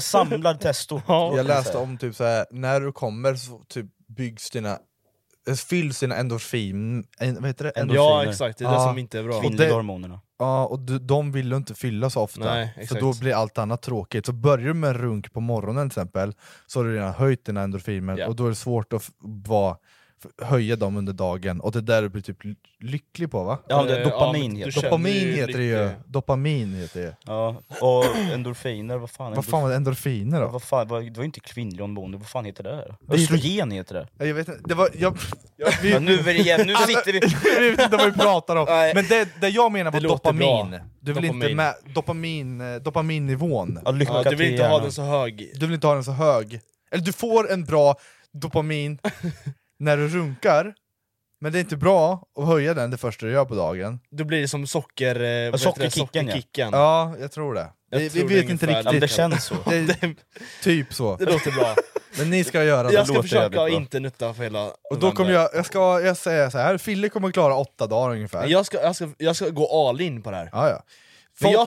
Speaker 4: samlad testo.
Speaker 3: jag läste om typ så här, när du kommer så typ byggs dina, eh, fylls dina endorfin, en, vad heter det?
Speaker 4: Endorfin.
Speaker 5: Ja
Speaker 4: Endorfiner.
Speaker 5: exakt, det är det
Speaker 3: Ja.
Speaker 5: som inte är bra.
Speaker 4: kvinnliga
Speaker 3: det-
Speaker 4: hormonerna.
Speaker 3: Ja, och du, de vill du inte fylla så ofta,
Speaker 5: Nej,
Speaker 3: för
Speaker 5: exakt.
Speaker 3: då blir allt annat tråkigt. Så börjar du med en runk på morgonen till exempel, så har du redan höjt dina endorfiner
Speaker 5: Ja.
Speaker 3: och då är det svårt att f- vara, f- höja dem under dagen, och det är där du blir typ ly- lycklig på va?
Speaker 4: Ja, det är
Speaker 5: Eh,
Speaker 4: dopamin
Speaker 5: men du
Speaker 4: heter det.
Speaker 5: känner
Speaker 3: Dopamin
Speaker 5: ju
Speaker 3: heter det ju,
Speaker 5: lite-
Speaker 3: dopamin heter det ju.
Speaker 4: Ja, och endorfiner, vad fan?
Speaker 3: Vad fan var det, endorfiner då?
Speaker 4: Vad fan, vad, det var ju inte kvinnliga hormoner, vad fan heter det? här?
Speaker 3: är ju-
Speaker 4: Östrogen heter det.
Speaker 3: Ja, Jag vet inte, det var... Jag, jag, vi,
Speaker 4: Ja, nu är det igen, nu sitter vi...
Speaker 3: jag vet inte vad vi pratar om,
Speaker 4: Nej.
Speaker 3: men det, det jag menar var
Speaker 5: Det låter
Speaker 3: dopamin.
Speaker 5: bra.
Speaker 3: Du vill inte
Speaker 5: Dopamin.
Speaker 3: med dopamin, eh, dopaminnivån.
Speaker 4: Ja, lycka
Speaker 5: Ja, du
Speaker 4: till
Speaker 5: vill inte ha
Speaker 4: hjärnan.
Speaker 5: den så hög.
Speaker 3: Du vill inte ha den så hög. Eller du får en bra dopamin när du runkar, men det är inte bra att höja den det första du gör på dagen.
Speaker 5: Då blir det som socker... eh, vad heter det?
Speaker 4: sockerkicken, ja.
Speaker 5: sockerkicken.
Speaker 3: Ja, jag tror det.
Speaker 5: Jag
Speaker 3: vi
Speaker 5: tror
Speaker 3: vi vet
Speaker 5: det
Speaker 3: inte
Speaker 5: ungefär.
Speaker 4: Ja, men det
Speaker 3: riktigt.
Speaker 4: känns så.
Speaker 3: Det är typ så.
Speaker 5: Det låter bra.
Speaker 3: Men ni ska göra det.
Speaker 5: Jag ska
Speaker 4: låter
Speaker 5: försöka
Speaker 4: jävligt
Speaker 5: att
Speaker 4: bra.
Speaker 5: inte nutta för hela
Speaker 3: Och då kommer jag, jag ska jag säga så här. Fille kommer klara åtta dagar ungefär.
Speaker 5: jag ska, jag, ska, jag ska gå all in på det här.
Speaker 3: Ja, ja.
Speaker 5: För jag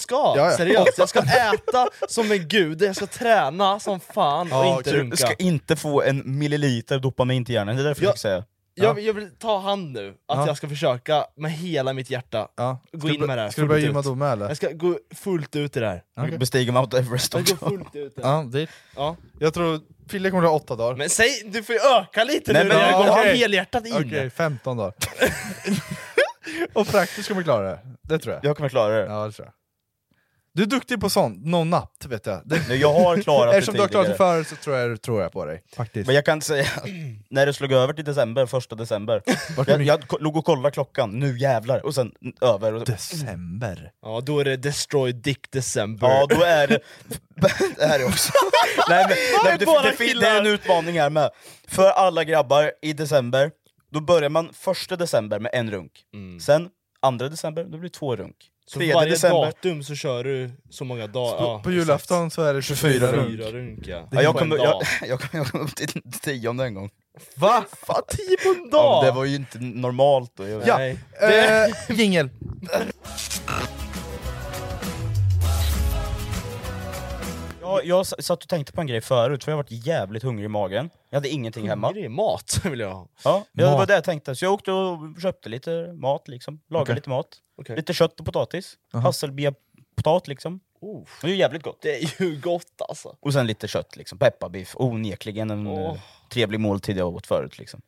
Speaker 5: Ska,
Speaker 4: Ja, ja.
Speaker 5: seriöst. Jag ska äta som en gud, jag ska träna som fan och inte
Speaker 4: du
Speaker 5: runka.
Speaker 4: ska inte få en milliliter dopamin till hjärnan, det är därför jag, jag säga.
Speaker 5: Jag, jag vill ta hand nu, att
Speaker 4: Ja.
Speaker 5: jag ska försöka med hela mitt hjärta gå
Speaker 4: Ska
Speaker 5: in
Speaker 4: du-
Speaker 5: med det här
Speaker 4: ska du börja
Speaker 5: fullt
Speaker 4: gymma
Speaker 5: ut.
Speaker 4: då med, eller?
Speaker 5: Jag ska gå fullt ut i det här.
Speaker 4: Okej. Bestiga Mount Everest
Speaker 5: Jag
Speaker 4: också.
Speaker 5: går fullt ut i det.
Speaker 3: Ja, dit.
Speaker 5: Ja.
Speaker 3: Jag tror Fille kommer att ha åtta dagar.
Speaker 5: Men säg, du får ju öka lite nu när jag går
Speaker 3: okej.
Speaker 5: helhjärtat in.
Speaker 3: Okej, 15 dagar. och praktiskt kommer klara det. Det tror jag.
Speaker 4: Jag kommer klara det.
Speaker 3: Ja, det tror jag. Du är duktig på sånt, no natt vet jag. Det...
Speaker 4: Nej, jag har klarat det
Speaker 3: Eftersom du har klarat det
Speaker 4: tidigare.
Speaker 3: förut så tror jag, tror jag på dig. Faktiskt.
Speaker 4: Men jag kan säga, när det slog över till december, första december, jag, jag ko- låg och kollade klockan, nu jävlar, och sen n- över. Och
Speaker 3: december?
Speaker 5: Ja, då är det Destroy Dick December.
Speaker 4: Ja, då är det... det här är också... nej, men, nej, det,
Speaker 5: Bara
Speaker 4: det, det, det är en utmaning här med. För alla grabbar i december, då börjar man första december med en runk. Sen andra december, då blir det två runk.
Speaker 5: Så
Speaker 4: Tredje
Speaker 5: varje
Speaker 4: december-
Speaker 5: datum så kör du så många dagar.
Speaker 4: På-
Speaker 5: ja,
Speaker 4: på
Speaker 3: julafton så är det 24 runk.
Speaker 5: runk, ja.
Speaker 4: Ja, jag
Speaker 5: På
Speaker 4: kom
Speaker 5: en dag.
Speaker 4: jag, jag kom- jag kom upp till tionde en gång.
Speaker 3: Va?
Speaker 4: Fan,
Speaker 5: tio på en
Speaker 4: dag? Ja, men det var ju inte normalt då. Jag-
Speaker 3: Ja, eh, jingel.
Speaker 4: Jag, jag s- satt och tänkte på en grej förut, för jag har varit jävligt hungrig i magen. Jag hade ingenting hemma.
Speaker 5: Hungrig? Mat vill jag ha.
Speaker 4: Ja, ja, det var
Speaker 5: Mat.
Speaker 4: det jag tänkte. Så jag åkte och köpte lite mat, liksom. lagade
Speaker 5: Okej.
Speaker 4: lite mat.
Speaker 5: Okej.
Speaker 4: Lite kött och potatis.
Speaker 5: Aha.
Speaker 4: Hasselbia-potat liksom.
Speaker 5: Oh.
Speaker 4: Det är ju jävligt gott.
Speaker 5: Det är ju gott alltså.
Speaker 4: Och sen lite kött, liksom. pepparbiff. Onekligen en
Speaker 5: Åh.
Speaker 4: eh, trevlig måltid jag åt förut. Liksom.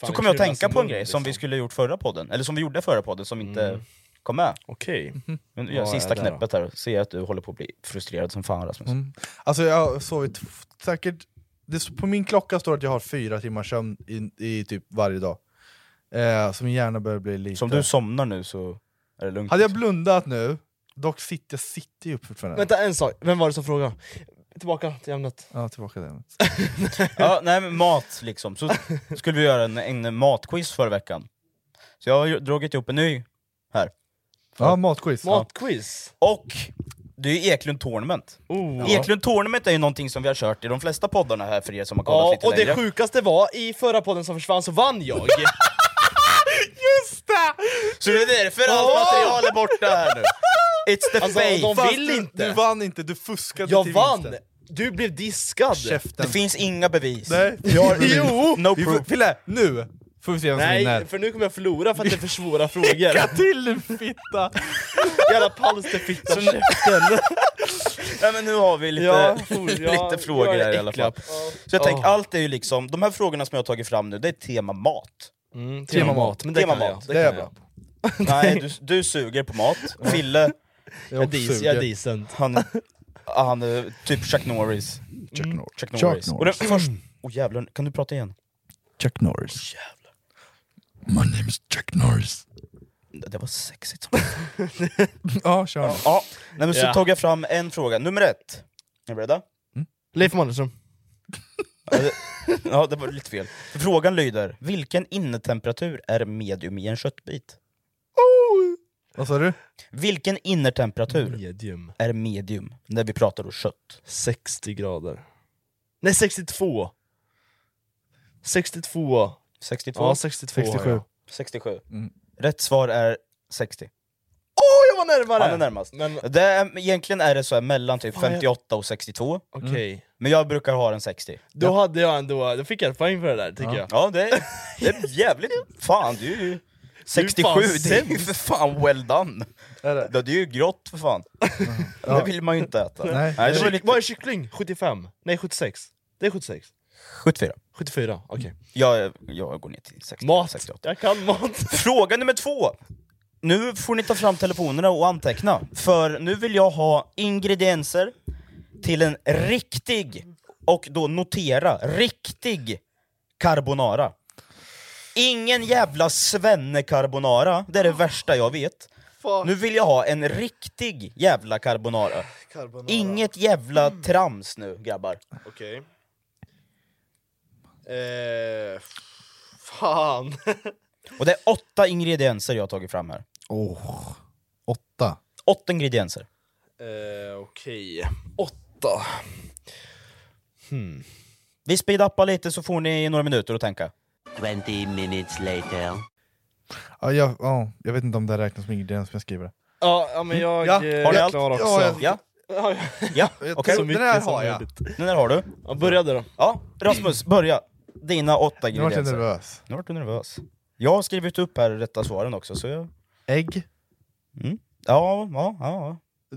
Speaker 4: så
Speaker 5: det
Speaker 4: kom jag att
Speaker 5: kryllar
Speaker 4: tänka
Speaker 5: sig
Speaker 4: på en
Speaker 5: mun,
Speaker 4: grej som vi skulle ha gjort förra podden, eller som vi gjorde förra podden som inte
Speaker 5: Mm.
Speaker 4: kom med.
Speaker 5: Okej.
Speaker 4: Men
Speaker 3: Vad är
Speaker 4: jag, sista
Speaker 3: det då?
Speaker 4: knäppet här, ser jag att du håller på att bli frustrerad som fan Rasmus.
Speaker 3: Mm. Alltså jag har sovit f- säkert... Det, s- på min klocka står att jag har fyra timmars sömn i, i typ varje dag. Eh, så min hjärna börjar bli lite...
Speaker 4: Som du somnar nu så är det lugnt.
Speaker 3: Hade jag blundat nu, dock sitter jag sitter ju upp fortfarande.
Speaker 5: Vänta en sak, vem var det som frågade? Tillbaka till ämnet.
Speaker 3: Ja, tillbaka till ämnet.
Speaker 4: Ja, nej men mat liksom. Så skulle vi göra en, en matquiz förra veckan. Så jag har ju dragit ihop en ny här.
Speaker 3: Ja, matquiz.
Speaker 5: Matquiz.
Speaker 4: Och det är ju Eklund Tournament.
Speaker 5: Oh.
Speaker 4: Eklund Tournament är ju någonting som vi har kört i de flesta poddarna här för er som har kollat
Speaker 5: Ja,
Speaker 4: lite
Speaker 5: och
Speaker 4: längre.
Speaker 5: det sjukaste var, i förra podden som försvann så vann jag.
Speaker 3: Just det!
Speaker 4: Så det är därför allt
Speaker 5: Åh!
Speaker 4: material är borta här nu. It's the
Speaker 5: Alltså,
Speaker 4: fate.
Speaker 5: de
Speaker 4: Fast
Speaker 5: vill
Speaker 4: du-
Speaker 5: inte.
Speaker 4: du vann.
Speaker 3: vann inte, du fuskade
Speaker 5: Jag
Speaker 3: till
Speaker 5: vann!
Speaker 3: vinsten.
Speaker 5: Du blev diskad!
Speaker 4: Det finns inga bevis.
Speaker 3: Nej, vi har
Speaker 5: Jo!
Speaker 4: No
Speaker 3: Vi får-
Speaker 4: proof.
Speaker 3: Fille, nu får vi se vem som vinner.
Speaker 5: Nej, Mm. för nu kommer jag förlora för att det är för svåra frågor.
Speaker 3: Lycka till din fitta!
Speaker 5: Jävla palsterfitta
Speaker 4: Så nu- Nej men nu har vi lite,
Speaker 5: Ja, for- ja,
Speaker 4: lite frågor
Speaker 5: jag är
Speaker 4: här i alla fall.
Speaker 5: äcklad.
Speaker 4: Så jag
Speaker 5: Ja.
Speaker 4: tänker, allt är ju liksom, de här frågorna som jag har tagit fram nu, det är tema mat.
Speaker 5: Mm, tema mat, men det
Speaker 4: Tema
Speaker 5: kan jag.
Speaker 4: mat,
Speaker 5: Det
Speaker 4: det
Speaker 5: kan
Speaker 4: är
Speaker 5: jag.
Speaker 4: Nej, du, du suger på mat. Fille,
Speaker 5: Jag är dis- jag är decent.
Speaker 4: han, han är typ Chuck Norris.
Speaker 3: Chuck Norris.
Speaker 4: Chuck Norris. Och den
Speaker 3: Norris.
Speaker 4: först... Oh, jävlar, kan du prata igen?
Speaker 3: Chuck Norris. My name is Chuck Norris.
Speaker 4: Det det var sexigt som
Speaker 3: Ja, kör.
Speaker 4: Ja, nej, men så
Speaker 5: Ja.
Speaker 4: tog jag fram en fråga. Nummer ett. Är ni beredda?
Speaker 5: Leif Mannerström.
Speaker 4: Ja, det- Ja, det var lite fel. Frågan lyder, vilken innetemperatur är medium i en köttbit?
Speaker 3: Vad sa du?
Speaker 4: Vilken
Speaker 3: Mm.
Speaker 4: innertemperatur
Speaker 5: Medium.
Speaker 4: är medium när vi pratar om kött?
Speaker 5: 60 grader. Nej, 62! 62.
Speaker 4: 62?
Speaker 5: Ja, 62 har
Speaker 3: 67.
Speaker 5: jag.
Speaker 4: 67.
Speaker 3: Mm.
Speaker 4: Rätt svar är 60.
Speaker 5: Åh, jag var närmare!
Speaker 4: Han är närmast.
Speaker 5: Men
Speaker 4: Det är, egentligen är det så här mellan typ
Speaker 5: Fan, jag-
Speaker 4: 58 och 62,
Speaker 5: okej,
Speaker 4: men jag brukar ha den 60.
Speaker 5: då hade jag ändå, då fick jag ett poäng för det där tycker jag.
Speaker 4: Ja, det är, det är jävligt... Fan, du är ju... 67, det är ju för fan well done!
Speaker 3: Är det?
Speaker 4: Det är ju grått för fan.
Speaker 3: Ja.
Speaker 4: Det vill man ju inte äta.
Speaker 3: Nej.
Speaker 4: det var lite...
Speaker 5: Vad är kyckling? 75? Nej 76. Det är 76.
Speaker 4: 74.
Speaker 5: 74, okej.
Speaker 4: Mm. Jag, jag går ner till 60,
Speaker 5: Mat.
Speaker 4: 68.
Speaker 5: Jag kan mat.
Speaker 4: Fråga nummer två! Nu får ni ta fram telefonerna och anteckna, för nu vill jag ha ingredienser till en riktig, och då notera, riktig carbonara. Ingen jävla svenne-carbonara, det är det värsta jag vet. Nu vill jag ha en riktig jävla carbonara.
Speaker 5: Carbonara.
Speaker 4: Inget jävla trams nu grabbar.
Speaker 5: Okej. Eh, fan.
Speaker 4: Och det är åtta ingredienser jag har tagit fram här.
Speaker 3: Oh. Åtta.
Speaker 4: Åtta ingredienser.
Speaker 5: eh, Okej. Åtta. Hmm.
Speaker 4: Vi speedappar lite så får ni några minuter att tänka.
Speaker 10: 20 minutes later.
Speaker 3: Ja, jag, ja, jag vet inte om det här räknas som ingrediens, men jag skriver det.
Speaker 5: Ja, ja, men jag...
Speaker 3: Ja,
Speaker 5: eh,
Speaker 3: har ni
Speaker 5: jag
Speaker 3: allt?
Speaker 5: klarar också.
Speaker 3: Ja, jag-
Speaker 4: Ja.
Speaker 5: Ja,
Speaker 4: Ja,
Speaker 5: Jag
Speaker 4: okej.
Speaker 5: tror den här har jag.
Speaker 4: Den här har du.
Speaker 5: Ja, börja du då.
Speaker 4: Ja, Rasmus, börja. Dina åtta
Speaker 3: Nu vart
Speaker 4: ingredienser.
Speaker 3: jag nervös.
Speaker 4: Nu vart du nervös. Jag har skrivit upp här rätta svaren också, så jag...
Speaker 3: Ägg.
Speaker 4: Mm. Ja, ja, ja.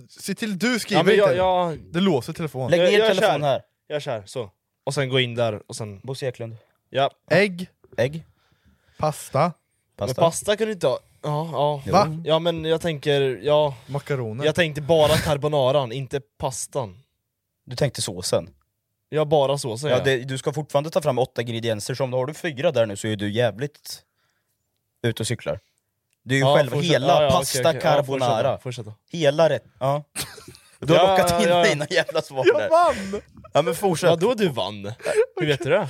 Speaker 3: Se till du
Speaker 5: Ja,
Speaker 3: skriver
Speaker 5: men jag,
Speaker 3: inte.
Speaker 5: jag,
Speaker 3: Det låser telefonen.
Speaker 4: Lägg ner
Speaker 5: jag
Speaker 4: telefonen
Speaker 5: kör.
Speaker 4: här.
Speaker 5: jag kör så. Och sen gå in där och sen...
Speaker 4: Bosse Eklund.
Speaker 5: Ja.
Speaker 3: Ägg,
Speaker 4: Ägg.
Speaker 3: pasta,
Speaker 4: Pasta.
Speaker 5: Men pasta kan du inte ha. Ja, ja.
Speaker 3: Va?
Speaker 5: Ja men jag tänker, ja,
Speaker 3: makaroner.
Speaker 5: jag tänkte bara carbonaran, inte pastan.
Speaker 4: Du tänkte såsen.
Speaker 5: Jag har bara såsen.
Speaker 4: Ja,
Speaker 5: jag.
Speaker 4: det, du ska fortfarande ta fram åtta ingredienser, så om du har du fyra där nu så är du jävligt ute och cyklar. Du är ju
Speaker 5: Ja,
Speaker 4: själv
Speaker 5: fortsätt.
Speaker 4: hela
Speaker 5: Ja, ja, okej,
Speaker 4: pasta
Speaker 5: okej. Ja,
Speaker 4: carbonara.
Speaker 5: fortsätt då, fortsätt då.
Speaker 4: hela rätt. Ja. Du har
Speaker 5: Ja,
Speaker 4: lockat
Speaker 5: ja,
Speaker 4: in
Speaker 5: ja, ja.
Speaker 4: dina jävla svar där.
Speaker 3: vann!
Speaker 4: Ja men fortsätt.
Speaker 5: Vadå du vann? Hur vet du det?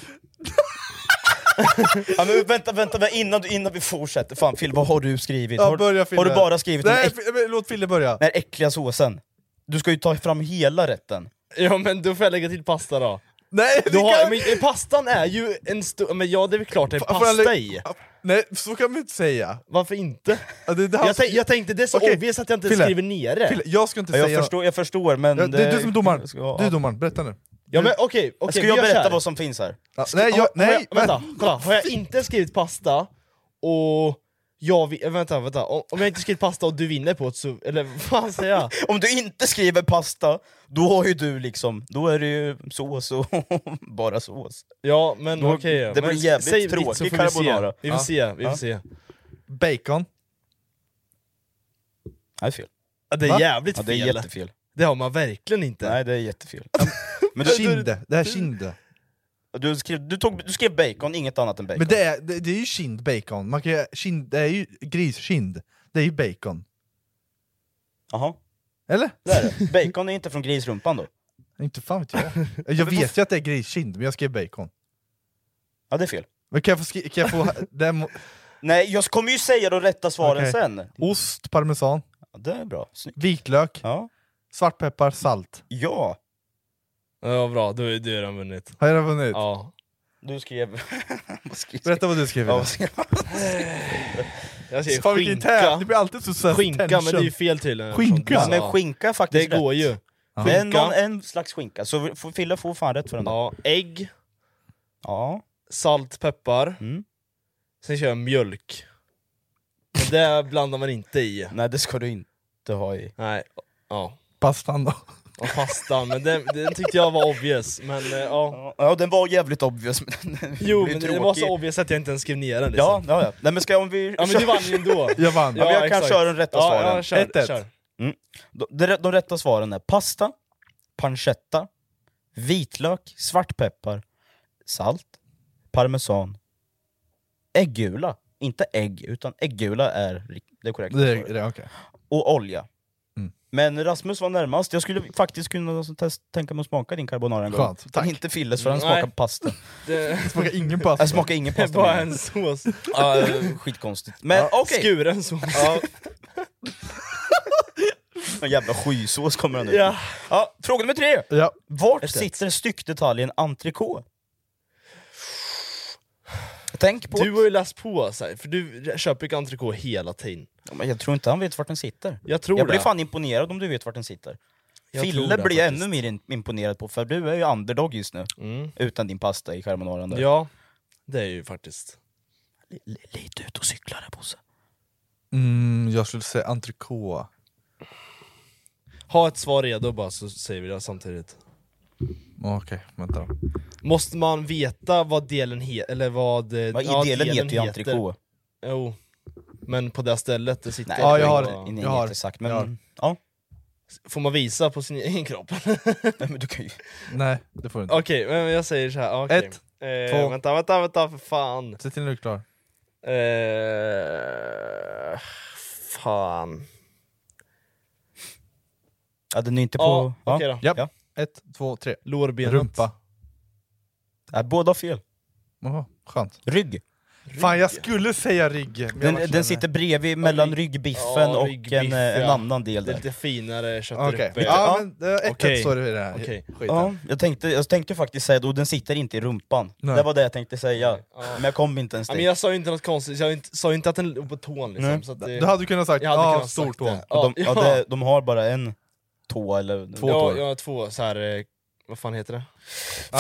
Speaker 4: Ja, men vänta, vänta, vänta innan, du, innan vi fortsätter. Fan Phil, vad har du skrivit?
Speaker 3: Ja, börja,
Speaker 4: har,
Speaker 3: Fille.
Speaker 4: har du bara skrivit den,
Speaker 3: Nej,
Speaker 4: äck,
Speaker 3: Fille, men låt Fille börja.
Speaker 4: den här äckliga såsen? Du ska ju ta fram hela rätten.
Speaker 5: Ja men då får jag lägga till pasta då.
Speaker 3: Nej,
Speaker 5: Du
Speaker 3: vi
Speaker 5: har,
Speaker 3: kan-
Speaker 5: men, eh, pastan är ju en stor... Men ja det är väl klart det är
Speaker 3: Får- får jag
Speaker 5: pasta
Speaker 3: lägga-
Speaker 5: i.
Speaker 3: Nej, så kan man inte säga.
Speaker 5: Varför inte?
Speaker 3: Ja, Det, det här-
Speaker 5: Jag,
Speaker 4: Alltså,
Speaker 5: tänk, jag tänkte det är så
Speaker 3: Okej,
Speaker 5: obvious att jag inte
Speaker 3: Fille.
Speaker 5: skriver ner det.
Speaker 3: Fille, jag ska inte
Speaker 4: Ja, jag,
Speaker 3: säga...
Speaker 4: förstår, jag förstår, men...
Speaker 3: Ja, det är
Speaker 5: eh,
Speaker 3: du som är domaren.
Speaker 4: Ska, ja.
Speaker 3: Du är domaren, berätta nu.
Speaker 5: Ja men okej, okej
Speaker 4: ska
Speaker 5: vi
Speaker 4: jag
Speaker 5: gör så
Speaker 4: berätta
Speaker 5: här.
Speaker 4: vad som finns här?
Speaker 3: Ja, nej, jag,
Speaker 5: Har
Speaker 3: nej,
Speaker 5: jag, vänta, kolla. Har jag inte skrivit pasta och jag vi, äh, vänta, vänta. Om om jag inte skrivit pasta och du vinner på det så, eller vad fan säger jag?
Speaker 4: Om du inte skriver pasta, då har ju du liksom... Då är det ju sås och bara sås.
Speaker 5: Ja men
Speaker 4: Då-
Speaker 5: okej.
Speaker 4: det blir
Speaker 5: men
Speaker 4: jävligt
Speaker 5: säg ditt
Speaker 4: tråkig
Speaker 5: så får vi
Speaker 4: carbonara.
Speaker 5: se. Vi får
Speaker 4: Ja.
Speaker 5: se, vi får
Speaker 4: Ja.
Speaker 5: se.
Speaker 3: Bacon.
Speaker 4: Nej, fel.
Speaker 5: Ja, det är
Speaker 3: Va?
Speaker 5: jävligt
Speaker 4: Ja, det är
Speaker 5: fel.
Speaker 4: jättefel.
Speaker 5: det har man verkligen inte.
Speaker 4: Nej, det är jättefel.
Speaker 3: Men
Speaker 4: du-
Speaker 3: kinde. Det här är kinde.
Speaker 4: Du skrev, du, tog, du skrev bacon, inget annat än bacon.
Speaker 3: Men det är, det, det är ju kind bacon. Man kan, ju- kind, det är ju griskind. Det är ju bacon.
Speaker 4: Jaha,
Speaker 3: Eller?
Speaker 4: det är det. Bacon är inte från grisrumpan då?
Speaker 3: Inte fan vet jag. Jag vet ju att det är griskind, men jag skrev bacon.
Speaker 4: Ja, det är fel.
Speaker 3: Men kan jag få... Skri- kan jag få det må-
Speaker 4: Nej, jag kommer ju säga de rätta svaren
Speaker 3: Okej.
Speaker 4: sen.
Speaker 3: ost, parmesan,
Speaker 4: Ja, det är bra. Snyggt.
Speaker 3: vitlök,
Speaker 4: Ja.
Speaker 3: svartpeppar, salt.
Speaker 4: ja,
Speaker 5: Ja bra, du du har redan vunnit.
Speaker 3: Har jag redan vunnit?
Speaker 5: Ja.
Speaker 4: du skrev... vad skrev
Speaker 3: Berätta vad du skrev.
Speaker 4: Ja,
Speaker 3: Ja,
Speaker 4: vad skrev
Speaker 5: Jag säger
Speaker 3: Fan vilken tävling, det
Speaker 5: skinka.
Speaker 3: blir alltid så såhär
Speaker 5: Skinka, men det är ju fel tydligen.
Speaker 3: Skinka?
Speaker 5: Ja,
Speaker 4: ja, men skinka är
Speaker 5: det
Speaker 4: faktiskt
Speaker 5: går
Speaker 4: rätt.
Speaker 5: ju.
Speaker 4: Det är
Speaker 5: Skinka.
Speaker 4: någon, en slags skinka, så får- Fille får fan rätt för den. Ja.
Speaker 5: Ja, ägg,
Speaker 4: ja.
Speaker 5: salt, peppar.
Speaker 4: Mm.
Speaker 5: Sen kör jag mjölk. Men det blandar man inte i.
Speaker 4: Nej, det ska du inte ha i.
Speaker 5: Nej, ja.
Speaker 3: Pastan då?
Speaker 5: Och pastan, men den, den tyckte jag var obvious. Men eh, ja.
Speaker 4: Ja, den var jävligt obvious, men den
Speaker 5: Jo,
Speaker 4: blir
Speaker 5: men det
Speaker 4: tråkig.
Speaker 5: var så obvious att jag inte ens skrev ner den
Speaker 4: Ja,
Speaker 5: liksom.
Speaker 4: ja, ja. Nej, men ska jag, om vi...
Speaker 5: Ja men du vann ju ändå.
Speaker 3: Jag vann.
Speaker 4: Ja, men jag
Speaker 5: exakt.
Speaker 4: kan köra den rätta
Speaker 5: Ja,
Speaker 4: svaren.
Speaker 5: ja, kör,
Speaker 3: Ett, ett.
Speaker 5: kör.
Speaker 4: De, de, de rätta svaren är pasta, pancetta, vitlök, svartpeppar, salt, parmesan, äggula. Inte ägg, utan äggula är ri- det korrekta
Speaker 3: Det,
Speaker 4: svaret.
Speaker 3: är- det, är okej.
Speaker 4: Och olja.
Speaker 3: Mm.
Speaker 4: Men Rasmus var närmast. Jag skulle faktiskt kunna alltså test, tänka mig att smaka din carbonara en gång.
Speaker 3: Skönt,
Speaker 4: Men
Speaker 3: tack.
Speaker 4: inte Filles för han
Speaker 5: Mm, Nej.
Speaker 4: smakar pasta.
Speaker 5: Det
Speaker 3: Det smakar ingen
Speaker 4: Jag
Speaker 3: pasta.
Speaker 4: smakar ingen
Speaker 5: är
Speaker 4: pasta.
Speaker 5: bara
Speaker 4: men-
Speaker 5: en sås.
Speaker 4: Ja, eh, skitkonstigt. Men okej!
Speaker 5: Skuren sås.
Speaker 4: Ja. Någon jävla skysås kommer han ut med.
Speaker 5: Ja.
Speaker 4: ja, Fråga nummer tre!
Speaker 3: Ja.
Speaker 4: Vart sitter styckdetaljen entrecote? Tänk på...
Speaker 5: Du har ju läst på så här, för du köper ju entrecote hela tiden.
Speaker 4: Ja, men Jag tror inte han vet vart den sitter.
Speaker 5: Jag tror
Speaker 4: jag
Speaker 5: det.
Speaker 4: blir fan imponerad om du vet vart den sitter.
Speaker 5: Jag tror
Speaker 4: Fille
Speaker 5: det,
Speaker 4: blir jag
Speaker 5: faktiskt.
Speaker 4: ännu mer in- imponerad på, för du är ju underdog just nu.
Speaker 5: Mm.
Speaker 4: Utan din pasta i carbonaren där.
Speaker 5: Ja, det är ju faktiskt.
Speaker 4: Li- li- Lite ut och cyklar där Bosse.
Speaker 3: Mm, jag skulle säga entrecote.
Speaker 5: Ha ett svar redo bara så säger vi det samtidigt.
Speaker 3: Okej, vänta då.
Speaker 5: Måste man veta vad delen heter, eller vad... eh,
Speaker 4: Vad
Speaker 5: ja,
Speaker 4: i delen heter ju entrecote.
Speaker 5: Jo. Men på det stället det sitter...
Speaker 4: Nej,
Speaker 3: Ja,
Speaker 4: det
Speaker 3: jag
Speaker 4: var
Speaker 3: har
Speaker 4: inte-
Speaker 3: det.
Speaker 4: ingen
Speaker 3: Jag har det.
Speaker 4: exakt,
Speaker 3: Jag har
Speaker 4: men... Ja.
Speaker 5: Får man visa på sin egen kropp?
Speaker 4: Nej, men du kan ju...
Speaker 3: Nej, det får du inte.
Speaker 5: Okej, men jag säger så här. okej.
Speaker 3: Ett,
Speaker 5: eh,
Speaker 3: två.
Speaker 5: Vänta, vänta, vänta för fan.
Speaker 3: Se till när du är klar.
Speaker 5: Eh, fan.
Speaker 4: Ja, den är inte på...
Speaker 3: Ja,
Speaker 4: ja.
Speaker 3: okej då.
Speaker 4: Ja.
Speaker 3: Ett, två, tre.
Speaker 5: Lårbenet.
Speaker 3: Rumpa.
Speaker 4: Ja, Äh, båda har fel.
Speaker 3: Jaha, skönt.
Speaker 4: Rygg.
Speaker 3: Fan jag skulle säga rygg. men jag
Speaker 4: Den,
Speaker 3: bara
Speaker 4: den
Speaker 3: känner-
Speaker 4: sitter bredvid mellan ryggbiffen och en, eh, en annan del där.
Speaker 5: Lite finare
Speaker 3: Okej.
Speaker 5: köttrulle.
Speaker 3: Ja, men det är ett ett står det i det här
Speaker 5: Okej.
Speaker 3: skiten.
Speaker 4: Ja, jag, tänkte, jag tänkte faktiskt säga då, den sitter inte i rumpan.
Speaker 5: Nej.
Speaker 4: Det var det jag tänkte säga. Men jag kom inte ens
Speaker 5: Ja,
Speaker 4: dit.
Speaker 5: men jag sa ju inte något konstigt, jag inte- sa ju inte att den låg på tån liksom.
Speaker 4: Nej.
Speaker 5: Så att det...
Speaker 4: Du hade kunnat sagt,
Speaker 5: Jag hade
Speaker 4: "Ah,
Speaker 5: kunnat
Speaker 4: stor
Speaker 5: sagt
Speaker 4: tå."
Speaker 5: det.
Speaker 4: Och de- ja, det- de har bara en tå eller två
Speaker 5: ja,
Speaker 4: tår.
Speaker 5: Ja, två så här, eh, vad fan heter det?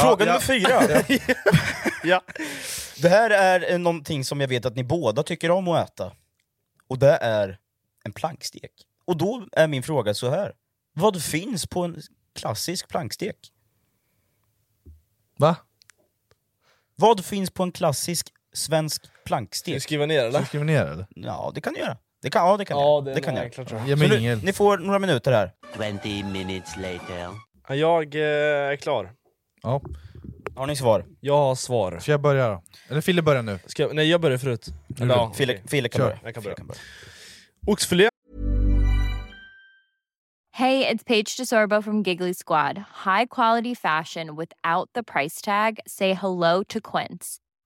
Speaker 4: Fråga nummer fyra!
Speaker 5: ja.
Speaker 4: Det här är eh, någonting som jag vet att ni båda tycker om att äta. Och det är en plankstek. Och då är min fråga så här. Vad finns på en klassisk plankstek?
Speaker 3: Va?
Speaker 4: Vad finns på en klassisk svensk plankstek? Ska
Speaker 5: du skriva ner
Speaker 3: Ska vi skriva ner eller?
Speaker 4: Ja, det kan du göra. Det kan, ja, det kan
Speaker 5: Ja,
Speaker 4: jag.
Speaker 5: det
Speaker 4: Det,
Speaker 5: är
Speaker 4: kan
Speaker 5: nog
Speaker 4: jag.
Speaker 5: enklare, tror
Speaker 4: göra.
Speaker 5: jag.
Speaker 4: Så
Speaker 5: Ge mig
Speaker 4: nu,
Speaker 5: ingen.
Speaker 4: ni får några minuter här.
Speaker 10: 20 minutes later.
Speaker 5: Ja, Jag eh, är klar.
Speaker 3: Ja.
Speaker 4: Har ni svar?
Speaker 5: Jag har svar.
Speaker 3: Ska jag börja då? Eller Fille börjar nu.
Speaker 5: Ska jag, nej, jag börjar förut. Eller, ja,
Speaker 4: Fille-
Speaker 5: okej.
Speaker 4: Fille kan
Speaker 5: Kör.
Speaker 4: börja.
Speaker 5: Jag kan börja.
Speaker 4: Fille kan börja.
Speaker 5: Oxfilé.
Speaker 11: Hey, it's Paige DeSorbo from Giggly Squad. High quality fashion without the price tag. Say hello to Quince.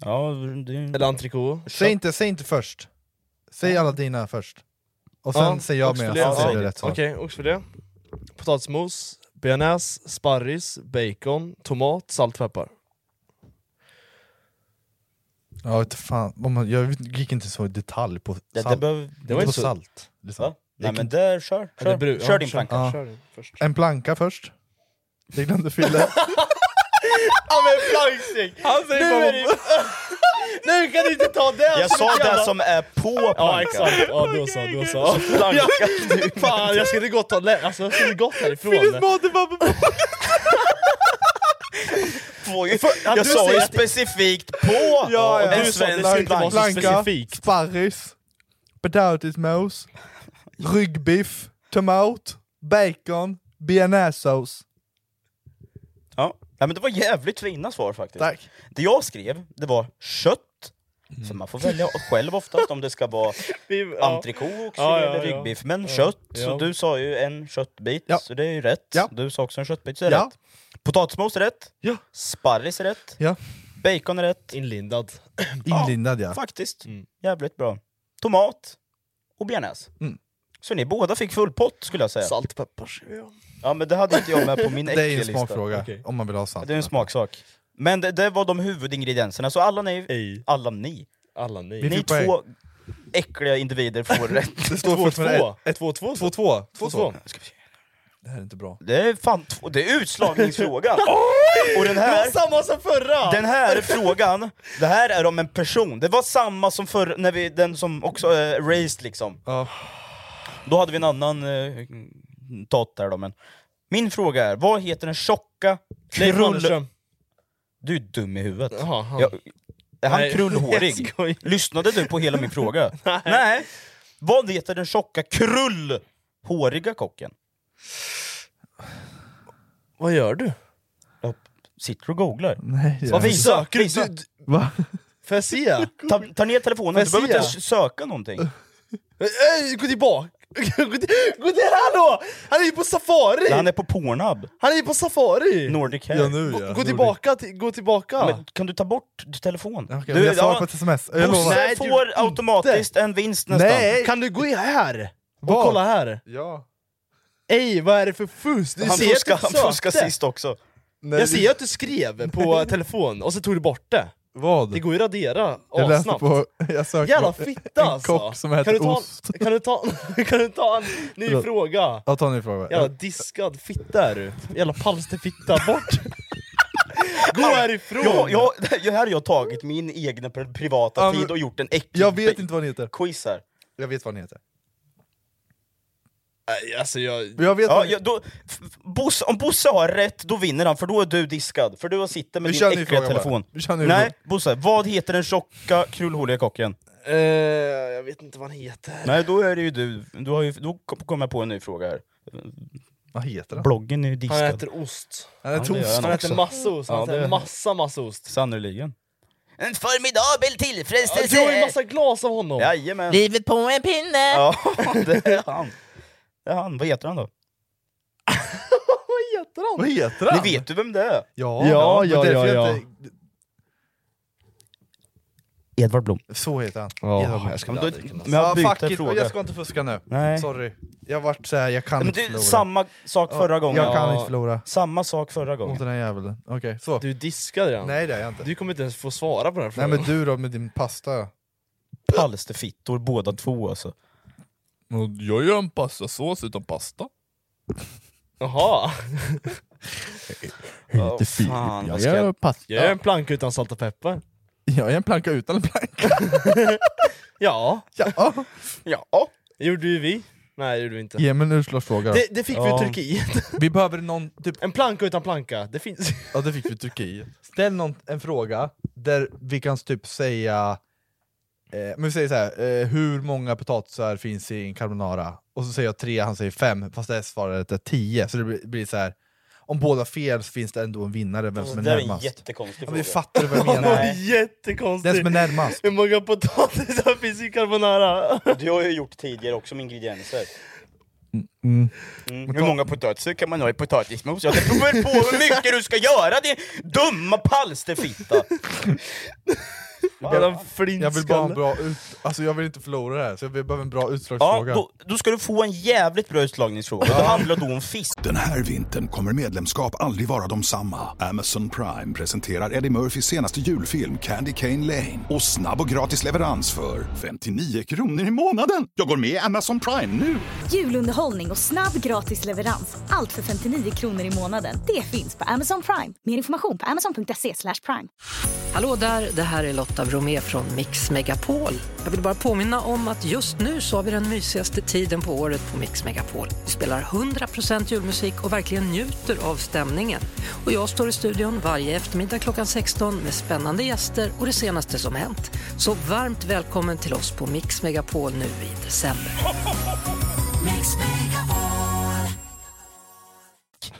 Speaker 4: Ja, det...
Speaker 5: Eller entrecote.
Speaker 3: Säg inte, säg inte först. Säg alla dina först. Och sen säger jag med,
Speaker 5: oxfilé.
Speaker 3: sen
Speaker 5: Ja,
Speaker 3: säger du rätt svar.
Speaker 5: Okej, oxfilé. Potatismos, bearnaise, sparris, bacon, tomat, salt, peppar.
Speaker 3: Ja, vet fan. Om man- Jag gick inte så i detalj på salt.
Speaker 4: det behöver- det
Speaker 3: det
Speaker 4: var
Speaker 3: var
Speaker 4: inte
Speaker 3: på
Speaker 4: så-
Speaker 3: salt. liksom.
Speaker 4: Va?
Speaker 3: Jag
Speaker 4: Nej
Speaker 3: gick
Speaker 4: men
Speaker 3: inte-
Speaker 4: där, kör.
Speaker 3: Ja, det
Speaker 4: Kör,
Speaker 3: bru- ja,
Speaker 4: kör din
Speaker 3: kör-
Speaker 4: planka.
Speaker 3: ja.
Speaker 4: Kör din.
Speaker 3: En planka först. Det glömde Fille.
Speaker 4: Ja men plankstek!
Speaker 5: Han säger
Speaker 4: Nu
Speaker 5: bara-
Speaker 4: är det-
Speaker 5: Nu kan du inte ta det!
Speaker 4: Jag sa det som är på plankan.
Speaker 5: Ja exakt, ja då så, då så.
Speaker 4: Planka.
Speaker 5: Fan jag skulle gått, ta- lä- alltså, jag skulle gått härifrån.
Speaker 4: Får ju-
Speaker 5: För- att
Speaker 4: Jag
Speaker 5: du
Speaker 4: sa
Speaker 5: säger
Speaker 4: ju
Speaker 5: att-
Speaker 4: specifikt på
Speaker 5: Ja, ja.
Speaker 4: en
Speaker 5: Du sa att det
Speaker 4: svensk
Speaker 5: skulle vara
Speaker 4: plank.
Speaker 5: så
Speaker 3: Planka,
Speaker 5: specifikt.
Speaker 3: sparris, potatismos, ryggbiff, tomat, bacon, bearnaisesås.
Speaker 4: Ja. ja men det var jävligt fina svar faktiskt.
Speaker 3: Tack.
Speaker 4: Det jag skrev, det var kött, för man får välja själv oftast om det ska vara
Speaker 5: Vi- ja.
Speaker 4: entrecote också,
Speaker 5: Ja, ja, ja.
Speaker 4: eller ryggbiff. Men
Speaker 5: Ja.
Speaker 4: kött,
Speaker 5: Ja.
Speaker 4: så du sa ju en köttbit, så det är ju rätt. Du sa också en köttbit, så det är
Speaker 3: Ja.
Speaker 4: rätt. Potatismos är rätt.
Speaker 3: Ja.
Speaker 4: Sparris är rätt.
Speaker 3: Ja. Ah,
Speaker 4: Bacon är rätt.
Speaker 5: Inlindad.
Speaker 3: Inlindad ja.
Speaker 4: Faktiskt. Jävligt bra. Tomat och bearnaise.
Speaker 3: Mm.
Speaker 4: Så ni båda fick full pott skulle jag säga.
Speaker 5: Saltpeppar skriver jag.
Speaker 4: Ja men det hade inte jag med på min
Speaker 3: Det är ju en
Speaker 4: äckellista.
Speaker 3: smakfråga, om man vill ha salt.
Speaker 4: Det är en smaksak. Men det, det var de huvudingredienserna, så alla ni, alla ni,
Speaker 5: alla ni,
Speaker 3: Vi
Speaker 4: ni
Speaker 3: fick
Speaker 4: två äckliga individer får rätt.
Speaker 3: Det står fortfarande
Speaker 4: 2-2.
Speaker 5: 2-2.
Speaker 3: 2-2.
Speaker 4: 2-2.
Speaker 3: Det här är inte bra.
Speaker 4: Det är fan två, det är utslagningsfrågan! Och den här,
Speaker 5: samma som förra!
Speaker 4: den här frågan, det här är om en person. Det var samma som förr, när vi, den som också är raised liksom. Då hade vi en annan eh, tot där då men. Min fråga är, vad heter den tjocka
Speaker 5: Leif
Speaker 4: krull...
Speaker 5: Mannerström.
Speaker 4: Du är dum i huvudet.
Speaker 5: Jaha, han.
Speaker 4: Jag, är han
Speaker 5: Nej, jag
Speaker 4: krullhårig? Lyssnade du på hela min fråga? Nej. Vad heter den tjocka krullhåriga kocken?
Speaker 5: Vad gör du?
Speaker 4: Jag sitter och googlar.
Speaker 3: Nej,
Speaker 4: Vad visa,
Speaker 5: Söker du-
Speaker 4: visa.
Speaker 5: du-
Speaker 3: Va?
Speaker 5: Får jag se?
Speaker 4: Ta, ta ner telefonen, du
Speaker 5: Får jag
Speaker 4: behöver inte
Speaker 5: se?
Speaker 4: ens söka någonting.
Speaker 5: Ey, Gå tillbaka! Gå till- gå till här då! Han är ju på safari!
Speaker 4: Han är på Pornhub.
Speaker 5: Han är ju på safari!
Speaker 4: Nordic Hair.
Speaker 3: Ja nu
Speaker 5: Gå
Speaker 3: ja.
Speaker 5: tillbaka, till, gå tillbaka!
Speaker 4: Men kan du ta bort telefon?
Speaker 3: Okej, men jag svarar på ett sms. Jag lovar.
Speaker 4: Bosse
Speaker 5: Nej, du
Speaker 4: får
Speaker 5: inte.
Speaker 4: automatiskt en vinst nästan.
Speaker 3: Nej!
Speaker 5: Kan du gå i här? Och
Speaker 3: Var?
Speaker 5: kolla här?
Speaker 3: Ja.
Speaker 5: Ey, vad är det för fusk? Du
Speaker 4: Han
Speaker 5: ser att du
Speaker 4: fuskar, han
Speaker 5: sökte.
Speaker 4: fuskar sist också.
Speaker 3: Nej,
Speaker 5: Jag ser att du skrev på telefon, och så tog du bort det.
Speaker 3: Vad?
Speaker 5: Det går ju att radera
Speaker 3: Jag läste
Speaker 5: assnabbt.
Speaker 3: på... Jag sökte
Speaker 5: Jävla
Speaker 3: på
Speaker 5: fitta
Speaker 3: en kock
Speaker 5: alltså!
Speaker 3: som heter
Speaker 5: kan, du ta,
Speaker 3: Ost.
Speaker 5: kan, du ta, kan du ta en ny
Speaker 3: Förlåt.
Speaker 5: fråga?
Speaker 3: Jag tar en ny fråga.
Speaker 5: Jävla diskad fitta är du! Jävla palsterfitta, bort! Gå härifrån!
Speaker 4: Jag, jag, här har jag tagit min egna pri- privata
Speaker 3: Ja, men-
Speaker 4: tid och gjort en äcklig
Speaker 3: Jag vet inte vad den heter.
Speaker 4: quiz här.
Speaker 3: Jag vet vad den heter.
Speaker 5: Nej, Alltså jag...
Speaker 3: Jag vet
Speaker 4: ja,
Speaker 5: vad-
Speaker 4: ja, då, F- F- Bosse, om Bosse har rätt, då vinner han, för då är du diskad. För du sitter med
Speaker 3: Vi kör en
Speaker 4: din
Speaker 3: ny
Speaker 4: äckliga
Speaker 3: fråga bara.
Speaker 4: telefon.
Speaker 3: Vi kör en ny
Speaker 4: Nej,
Speaker 3: fråga.
Speaker 4: Bosse, vad heter den tjocka, krulhåliga kocken?
Speaker 5: Eh, jag vet inte vad han heter.
Speaker 4: Nej, då är det ju du. du har ju, då kom- kommer jag på en ny fråga här.
Speaker 3: Vad heter den?
Speaker 4: Bloggen är ju
Speaker 5: Han
Speaker 4: diskad.
Speaker 5: äter ost.
Speaker 4: Han äter
Speaker 5: det gör
Speaker 4: ost
Speaker 5: Han
Speaker 4: också.
Speaker 5: äter massa ost. Han
Speaker 4: Ja, det-
Speaker 5: äter massa, massa ost.
Speaker 4: Sannerligen.
Speaker 12: En formidabel
Speaker 5: Ja,
Speaker 12: tillfredsställelse!
Speaker 5: du
Speaker 4: eh.
Speaker 5: har ju massa glas av honom.
Speaker 4: Jajamän.
Speaker 12: Livet på en pinne!
Speaker 4: Ja, det är han. Det är han. Vad heter han då?
Speaker 3: Vad heter han?
Speaker 4: Ni vet ju vem det är?
Speaker 3: Ja,
Speaker 4: ja,
Speaker 3: men
Speaker 4: ja.
Speaker 3: därför
Speaker 4: ja,
Speaker 3: jag
Speaker 4: ja.
Speaker 3: inte-
Speaker 4: Edvard Blom.
Speaker 3: Så heter han.
Speaker 4: Ja,
Speaker 3: Edvard Blom.
Speaker 4: jag ska- men då-
Speaker 3: Ja,
Speaker 4: men jag byter
Speaker 3: fuck it,
Speaker 4: fråga.
Speaker 3: jag ska inte fuska nu.
Speaker 4: Nej.
Speaker 3: Sorry. Jag vart såhär, jag kan
Speaker 4: Men
Speaker 3: inte
Speaker 4: du,
Speaker 3: förlora.
Speaker 4: samma sak
Speaker 3: Ja,
Speaker 4: förra gången.
Speaker 3: Jag kan inte förlora.
Speaker 4: Samma sak förra gången.
Speaker 3: Mot den här jäveln. Okej, så.
Speaker 5: Du diskade den.
Speaker 3: Nej det är jag inte.
Speaker 5: Du kommer inte ens få svara på den
Speaker 3: Nej
Speaker 5: frågan.
Speaker 3: men du då med din pasta.
Speaker 4: Palsterfittor båda två alltså.
Speaker 3: Jag gör en pastasås utan pasta.
Speaker 5: Jaha.
Speaker 3: Jag
Speaker 5: Åh,
Speaker 3: Filip,
Speaker 5: fan,
Speaker 3: jag
Speaker 5: vad ska
Speaker 3: gör pasta.
Speaker 5: Jag gör en planka utan salt och peppar.
Speaker 3: Jag är en planka utan en planka.
Speaker 5: Ja.
Speaker 3: Ja.
Speaker 5: ja. Det gjorde ju vi. Nej, det gjorde vi inte.
Speaker 3: Ge mig en utslagsfråga då.
Speaker 5: Det, det fick
Speaker 3: Ja.
Speaker 5: vi i Turkiet.
Speaker 3: Vi behöver någon... Typ...
Speaker 5: En planka utan planka. Det finns.
Speaker 3: Ja det fick vi i Turkiet. Ställ någon, en fråga där vi kan typ säga... Eh, men vi säger så här, eh, hur många potatisar finns i en carbonara? Och så säger jag tre, han säger fem, fast det här svaret är tio. Så det blir, blir så här. om båda fel så finns det ändå en vinnare, vem som är
Speaker 4: det där är en
Speaker 3: närmast.
Speaker 4: jättekonstig
Speaker 3: ja, men vi
Speaker 4: fråga.
Speaker 3: fattar vad jag menar.
Speaker 4: Nej.
Speaker 3: Den
Speaker 5: Jättekonstigt.
Speaker 3: som är närmast.
Speaker 5: Hur många potatisar finns i carbonara?
Speaker 4: Du har ju gjort tidigare också med ingredienser.
Speaker 3: Mm.
Speaker 4: Mm. Hur många potatisar kan man ha i potatismos? Ja, det beror på hur mycket du ska göra din dumma palsterfitta!
Speaker 5: Jävla
Speaker 3: Jag vill bara ha en
Speaker 5: flintskalle.
Speaker 3: bra ut... Alltså jag vill inte förlora det här, så jag behöver en bra
Speaker 4: Ja,
Speaker 3: utslagsfråga.
Speaker 4: då, då ska du få en jävligt bra utslagningsfråga. Det handlar då om fisk.
Speaker 1: Den här vintern kommer medlemskap aldrig vara de samma. Amazon Prime presenterar Eddie Murphys senaste julfilm Candy Cane Lane. Och snabb och gratis leverans för 59 kronor i månaden. Jag går med i Amazon Prime nu!
Speaker 2: Julunderhållning och snabb gratis leverans. Allt för 59 kronor i månaden. Det finns på Amazon Prime. Mer information på amazon.se slash prime.
Speaker 13: Hallå där, det här är Lotta Bromé från Mix Megapol. Jag vill bara påminna om att just nu så har vi den mysigaste tiden på året på Mix Megapol. Vi spelar 100% julmusik och verkligen njuter av stämningen. Och jag står i studion varje eftermiddag klockan 16 med spännande gäster och det senaste som hänt. Så varmt välkommen till oss på Mix Megapol nu i december.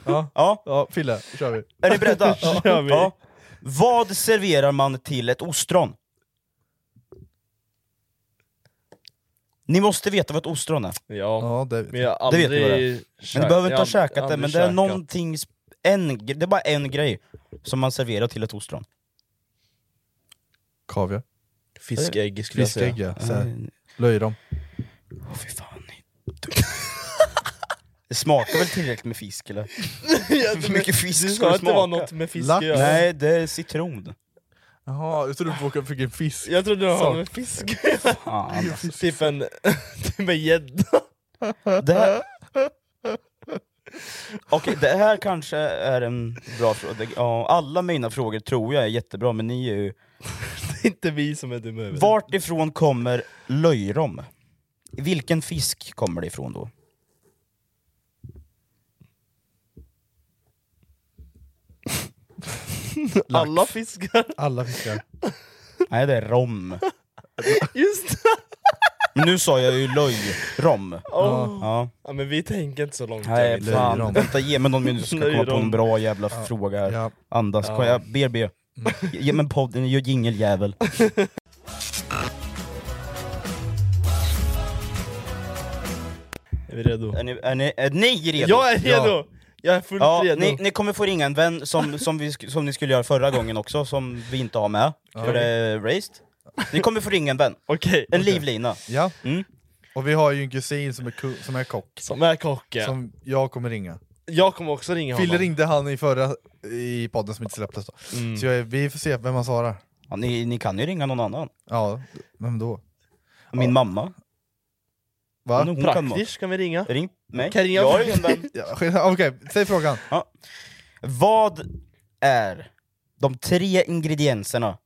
Speaker 3: Ja,
Speaker 4: ja.
Speaker 3: ja Fille, då kör vi.
Speaker 4: Är ni beredda?
Speaker 3: kör vi.
Speaker 4: Ja. Vad serverar man till ett ostron? Ni måste veta vad ett ostron är.
Speaker 5: Ja,
Speaker 3: ja det,
Speaker 5: men jag har
Speaker 4: Det vet
Speaker 5: aldrig...
Speaker 4: ni vad det är. Men
Speaker 5: käkat-
Speaker 4: du behöver
Speaker 5: jag
Speaker 4: inte
Speaker 5: har
Speaker 4: ha
Speaker 5: aldrig-
Speaker 4: käkat det,
Speaker 5: aldrig
Speaker 4: men det är
Speaker 5: käkat.
Speaker 4: någonting... sp- En, gre- det är bara en grej som man serverar till ett ostron.
Speaker 3: Kaviar.
Speaker 5: Fiskägg skulle jag säga.
Speaker 3: Fiskägg ja, så
Speaker 4: Mm.
Speaker 3: här. löjrom.
Speaker 4: Åh fy fan. ni är dumma. Det smakar väl tillräckligt med fisk eller? Hur mycket fisk
Speaker 5: Du
Speaker 4: ska
Speaker 5: sa
Speaker 4: det
Speaker 5: att det var
Speaker 4: smaka?
Speaker 5: något med fisk
Speaker 4: Lax?
Speaker 5: att göra.
Speaker 4: Nej, det är citron.
Speaker 3: Jaha, jag trodde du åkte- fick en fisk.
Speaker 5: Jag trodde det var
Speaker 3: Sak.
Speaker 5: med fisk.
Speaker 4: Fan.
Speaker 5: typ en... typ en gädda.
Speaker 4: Det här... Okej, det här kanske är en bra fråga. Det- Ja, alla mina frågor tror jag är jättebra, men ni är ju...
Speaker 5: Det är inte vi som är dumma i huvudet.
Speaker 4: Vart ifrån kommer löjrom? Vilken fisk kommer det ifrån då?
Speaker 3: Lax.
Speaker 5: Alla fiskar.
Speaker 3: Alla fiskar.
Speaker 4: Nej, det är rom.
Speaker 5: Just det.
Speaker 4: Men nu sa jag ju löjrom.
Speaker 5: Åh.
Speaker 4: Ja.
Speaker 5: Ja, men vi tänker inte så långt.
Speaker 4: Nej,
Speaker 5: Emil.
Speaker 4: fan. Vänta, ge mig någon minut så ska jag komma på en
Speaker 5: Löjrom.
Speaker 4: bra jävla fråga här.
Speaker 3: Ja.
Speaker 4: Andas,
Speaker 5: Ja. Mm.
Speaker 4: kom, jag ber, ber. Ge mig podden, gör jingeljävel.
Speaker 5: Är vi redo?
Speaker 4: Är ni, är ni, är ni redo?
Speaker 5: Jag är redo! Jag är fullt
Speaker 4: Ja,
Speaker 5: redo.
Speaker 4: ni, ni kommer få ringa en vän som, som, vi, sk- som ni skulle göra förra gången också, som vi inte har med, för det är raced. Ni kommer få ringa en vän,
Speaker 5: Okej.
Speaker 4: en livlina.
Speaker 3: Ja.
Speaker 4: Mm.
Speaker 3: Och vi har ju en kusin som är, ku- som är kock,
Speaker 5: Som är kocken.
Speaker 3: som jag kommer ringa.
Speaker 5: Jag kommer också ringa
Speaker 3: Fille
Speaker 5: honom.
Speaker 3: ringde han i förra i podden som inte släpptes då.
Speaker 4: Mm.
Speaker 3: Så jag, vi får se vem han svarar.
Speaker 4: Ja, ni, ni kan ju ringa någon annan.
Speaker 3: Ja, vem då?
Speaker 4: Min mamma.
Speaker 3: Va?
Speaker 4: Hon, hon kan vara.
Speaker 5: Praktiskt kan vi ringa.
Speaker 4: Ring mig.
Speaker 5: Kan jag ringa?
Speaker 4: Jag är en vän.
Speaker 3: Ja, skit- Okej, säg frågan.
Speaker 4: Vad är de tre ingredienserna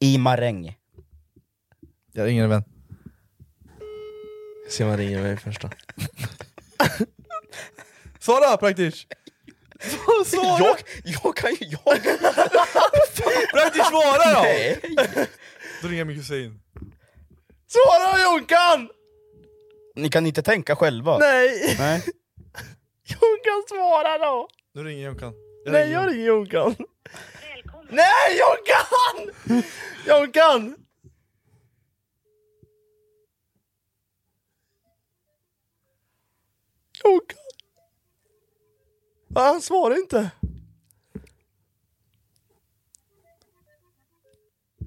Speaker 4: i maräng?
Speaker 3: Jag ringer en vän.
Speaker 5: Se om han ringer mig först då.
Speaker 3: Svara praktiskt!
Speaker 4: Jag, jag kan ju... Jag...
Speaker 3: Praktiskt svara då!
Speaker 4: Nej.
Speaker 3: Då ringer jag min kusin.
Speaker 4: Svara Jonkan! Ni kan inte tänka själva?
Speaker 5: Nej.
Speaker 4: Nej.
Speaker 5: Jonkan svara då!
Speaker 3: Nu ringer Jonkan.
Speaker 5: Nej jag ringer Jonkan. Nej Jonkan! Jonkan! Jonkan! Ah, han svarar inte.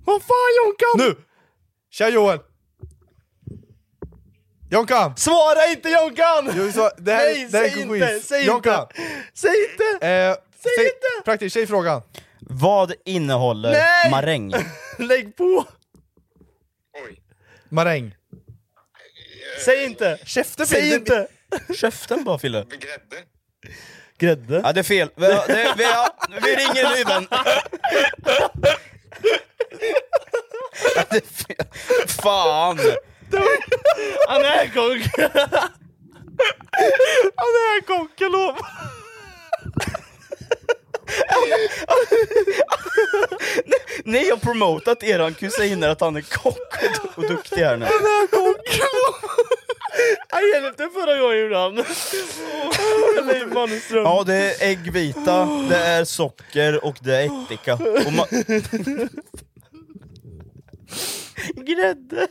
Speaker 5: Vad fan Jonkan!
Speaker 3: Nu! Tja Joel! Jonkan!
Speaker 5: Svara inte Jonkan!
Speaker 3: Jo, så, det här,
Speaker 5: Nej,
Speaker 3: det här
Speaker 5: säg
Speaker 3: är
Speaker 5: inte,
Speaker 3: quiz.
Speaker 5: säg
Speaker 3: Jonkan!
Speaker 5: Säg inte!
Speaker 3: Eh,
Speaker 5: Säg
Speaker 3: inte! Praktiskt, säg frågan.
Speaker 4: Vad innehåller
Speaker 5: Nej!
Speaker 4: maräng?
Speaker 5: Lägg på!
Speaker 3: Maräng.
Speaker 5: Säg inte!
Speaker 3: Käften
Speaker 5: Säg inte!
Speaker 4: Käften bara Fille.
Speaker 5: Grädde?
Speaker 4: Ja det är fel. Vi, det, vi, ja, vi ringer nu men. Ja, det är fel. Fan!
Speaker 5: Han är kock! Han är kock, jag lovar!
Speaker 4: Ni har promotat eran kusin här att han är kock och, och duktig här nu.
Speaker 5: Han är kock! Han hjälpte förra gången gjorde han. Leif Mannerström.
Speaker 3: Liksom.
Speaker 4: Ja det är äggvita, det är socker och det är ättika. Och ma-
Speaker 5: Grädde!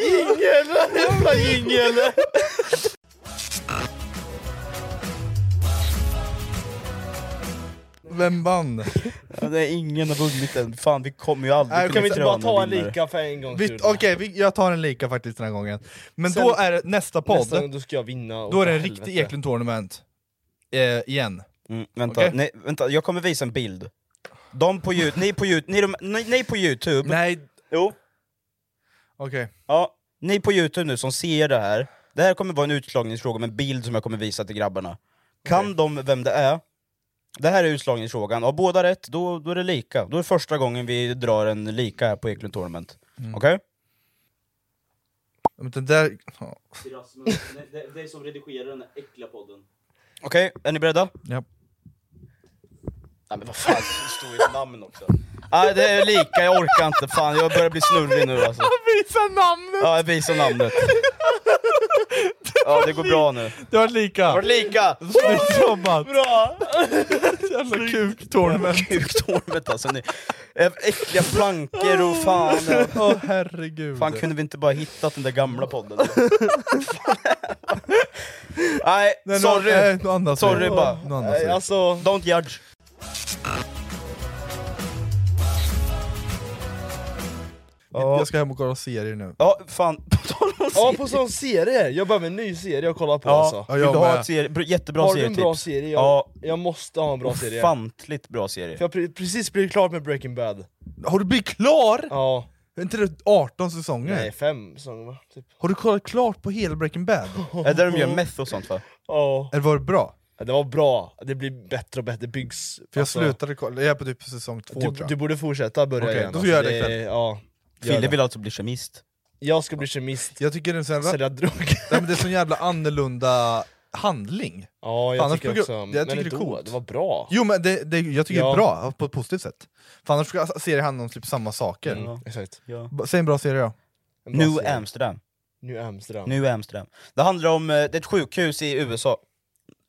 Speaker 5: Jingel! Jävla jingel!
Speaker 3: Vem vann?
Speaker 4: ja, det är ingen har vunnit än. Fan vi kommer ju aldrig
Speaker 3: Nej,
Speaker 4: kunna
Speaker 3: kan vi inte
Speaker 4: kröna
Speaker 3: bara ta en
Speaker 4: vinnare.
Speaker 5: Lika för en gång
Speaker 3: Vi-
Speaker 5: skull.
Speaker 3: Okej, vi- jag tar en lika faktiskt den här gången. Men
Speaker 5: Sen-
Speaker 3: då är det nästa podd,
Speaker 5: Nästa gång då ska jag vinna. och
Speaker 3: då är det en
Speaker 5: för
Speaker 3: riktig
Speaker 5: helvete.
Speaker 3: Eklund Tournament. Eh, igen.
Speaker 4: Mm, vänta,
Speaker 3: Okej.
Speaker 4: nej, vänta, jag kommer visa en bild. De på Youtube, ni på Youtube, ni, de, ni, ni på Youtube.
Speaker 3: Nej.
Speaker 4: Jo.
Speaker 3: Okej.
Speaker 4: Ja, ni på Youtube nu som ser det här. Det här kommer vara en utslagningsfråga med en bild som jag kommer visa till grabbarna. Kan de vem det är? Det här är utslagningsfrågan. Har båda rätt, då, då är det lika. Då är det första gången vi drar en lika här på Eklund Tournament.
Speaker 3: Mm.
Speaker 4: Okej?
Speaker 3: Men den där...
Speaker 14: det, är som redigerar den där äckliga podden.
Speaker 4: Okej, är ni beredda?
Speaker 3: Ja.
Speaker 4: Nej men vad fan, det står ju ett namn också. Nej det är lika, jag orkar inte. Fan jag börjar bli snurrig nu alltså.
Speaker 3: Visa namnet!
Speaker 4: Ja, jag visar namnet. Ja, det går bra nu.
Speaker 3: Det var lika!
Speaker 4: Det var lika!
Speaker 3: Snyggt jobbat!
Speaker 5: Bra!
Speaker 3: Jävla kuktornament!
Speaker 4: Kuktornet alltså. Ni, Eh, äckliga plankor och fan.
Speaker 3: Åh herregud.
Speaker 4: Fan kunde vi inte bara hittat den där gamla podden? Nej,
Speaker 3: Nej, nu- nej,
Speaker 4: sorry.
Speaker 3: nu andas vi.
Speaker 4: sorry bara.
Speaker 3: Nu andas vi.
Speaker 4: Nej,
Speaker 5: Alltså,
Speaker 4: Don't judge.
Speaker 3: Jag ska hem och kolla serier nu.
Speaker 4: Ja, fan. På tal om
Speaker 5: ja
Speaker 4: serier.
Speaker 5: på sån serie. Jag börjar med en ny serie jag kollar på
Speaker 4: Ja,
Speaker 5: alltså.
Speaker 3: Ja,
Speaker 4: Vill
Speaker 3: jag
Speaker 4: du ha
Speaker 3: med.
Speaker 4: ett serie, br- jättebra
Speaker 5: Har du en
Speaker 4: serietips?
Speaker 5: bra serie? Jag,
Speaker 4: Ja,
Speaker 5: jag måste ha en bra serie.
Speaker 4: ofantligt bra serie.
Speaker 5: För jag har pre- precis blivit klar med Breaking Bad.
Speaker 3: Har du blivit klar?
Speaker 5: Ja.
Speaker 3: Är inte det 18 säsonger?
Speaker 4: Mm.
Speaker 5: Nej, fem säsonger va? Typ.
Speaker 3: Har du kollat klart på hela Breaking Bad?
Speaker 4: Är det där de gör meth och sånt va?
Speaker 5: Ja.
Speaker 3: Eller var det bra?
Speaker 5: Ja, Det var bra, det blir bättre och bättre, det byggs...
Speaker 3: För jag
Speaker 5: alltså,
Speaker 3: slutade kolla, jag är på typ säsong två tror
Speaker 5: du,
Speaker 3: jag.
Speaker 5: du borde fortsätta börja
Speaker 3: Okej,
Speaker 5: igen.
Speaker 3: då gör jag det
Speaker 5: är-
Speaker 3: ikväll.
Speaker 5: ja, gör
Speaker 4: Fille
Speaker 5: det.
Speaker 4: vill alltså bli kemist.
Speaker 5: Jag ska bli kemist,
Speaker 3: Jag tycker det är en sån jävla,
Speaker 5: sälja droger.
Speaker 3: nej, men det är en sån jävla annorlunda handling.
Speaker 5: Ja, jag
Speaker 3: Fan, annars
Speaker 5: tycker
Speaker 3: brukar-
Speaker 5: också...
Speaker 3: jag
Speaker 5: men
Speaker 3: tycker det är
Speaker 5: ändå,
Speaker 3: coolt.
Speaker 5: Det var bra.
Speaker 3: Jo men det, det, jag tycker det
Speaker 5: Ja.
Speaker 3: är bra, på ett positivt sätt. För annars brukar serier handla om typ samma saker.
Speaker 5: Mm, Exakt.
Speaker 3: B- Säg en bra serie då.
Speaker 5: En bra
Speaker 4: New
Speaker 5: serie.
Speaker 4: Amsterdam.
Speaker 5: New Amsterdam.
Speaker 4: Nu är Amsterdam. Det handlar om, eh, det är ett sjukhus i USA.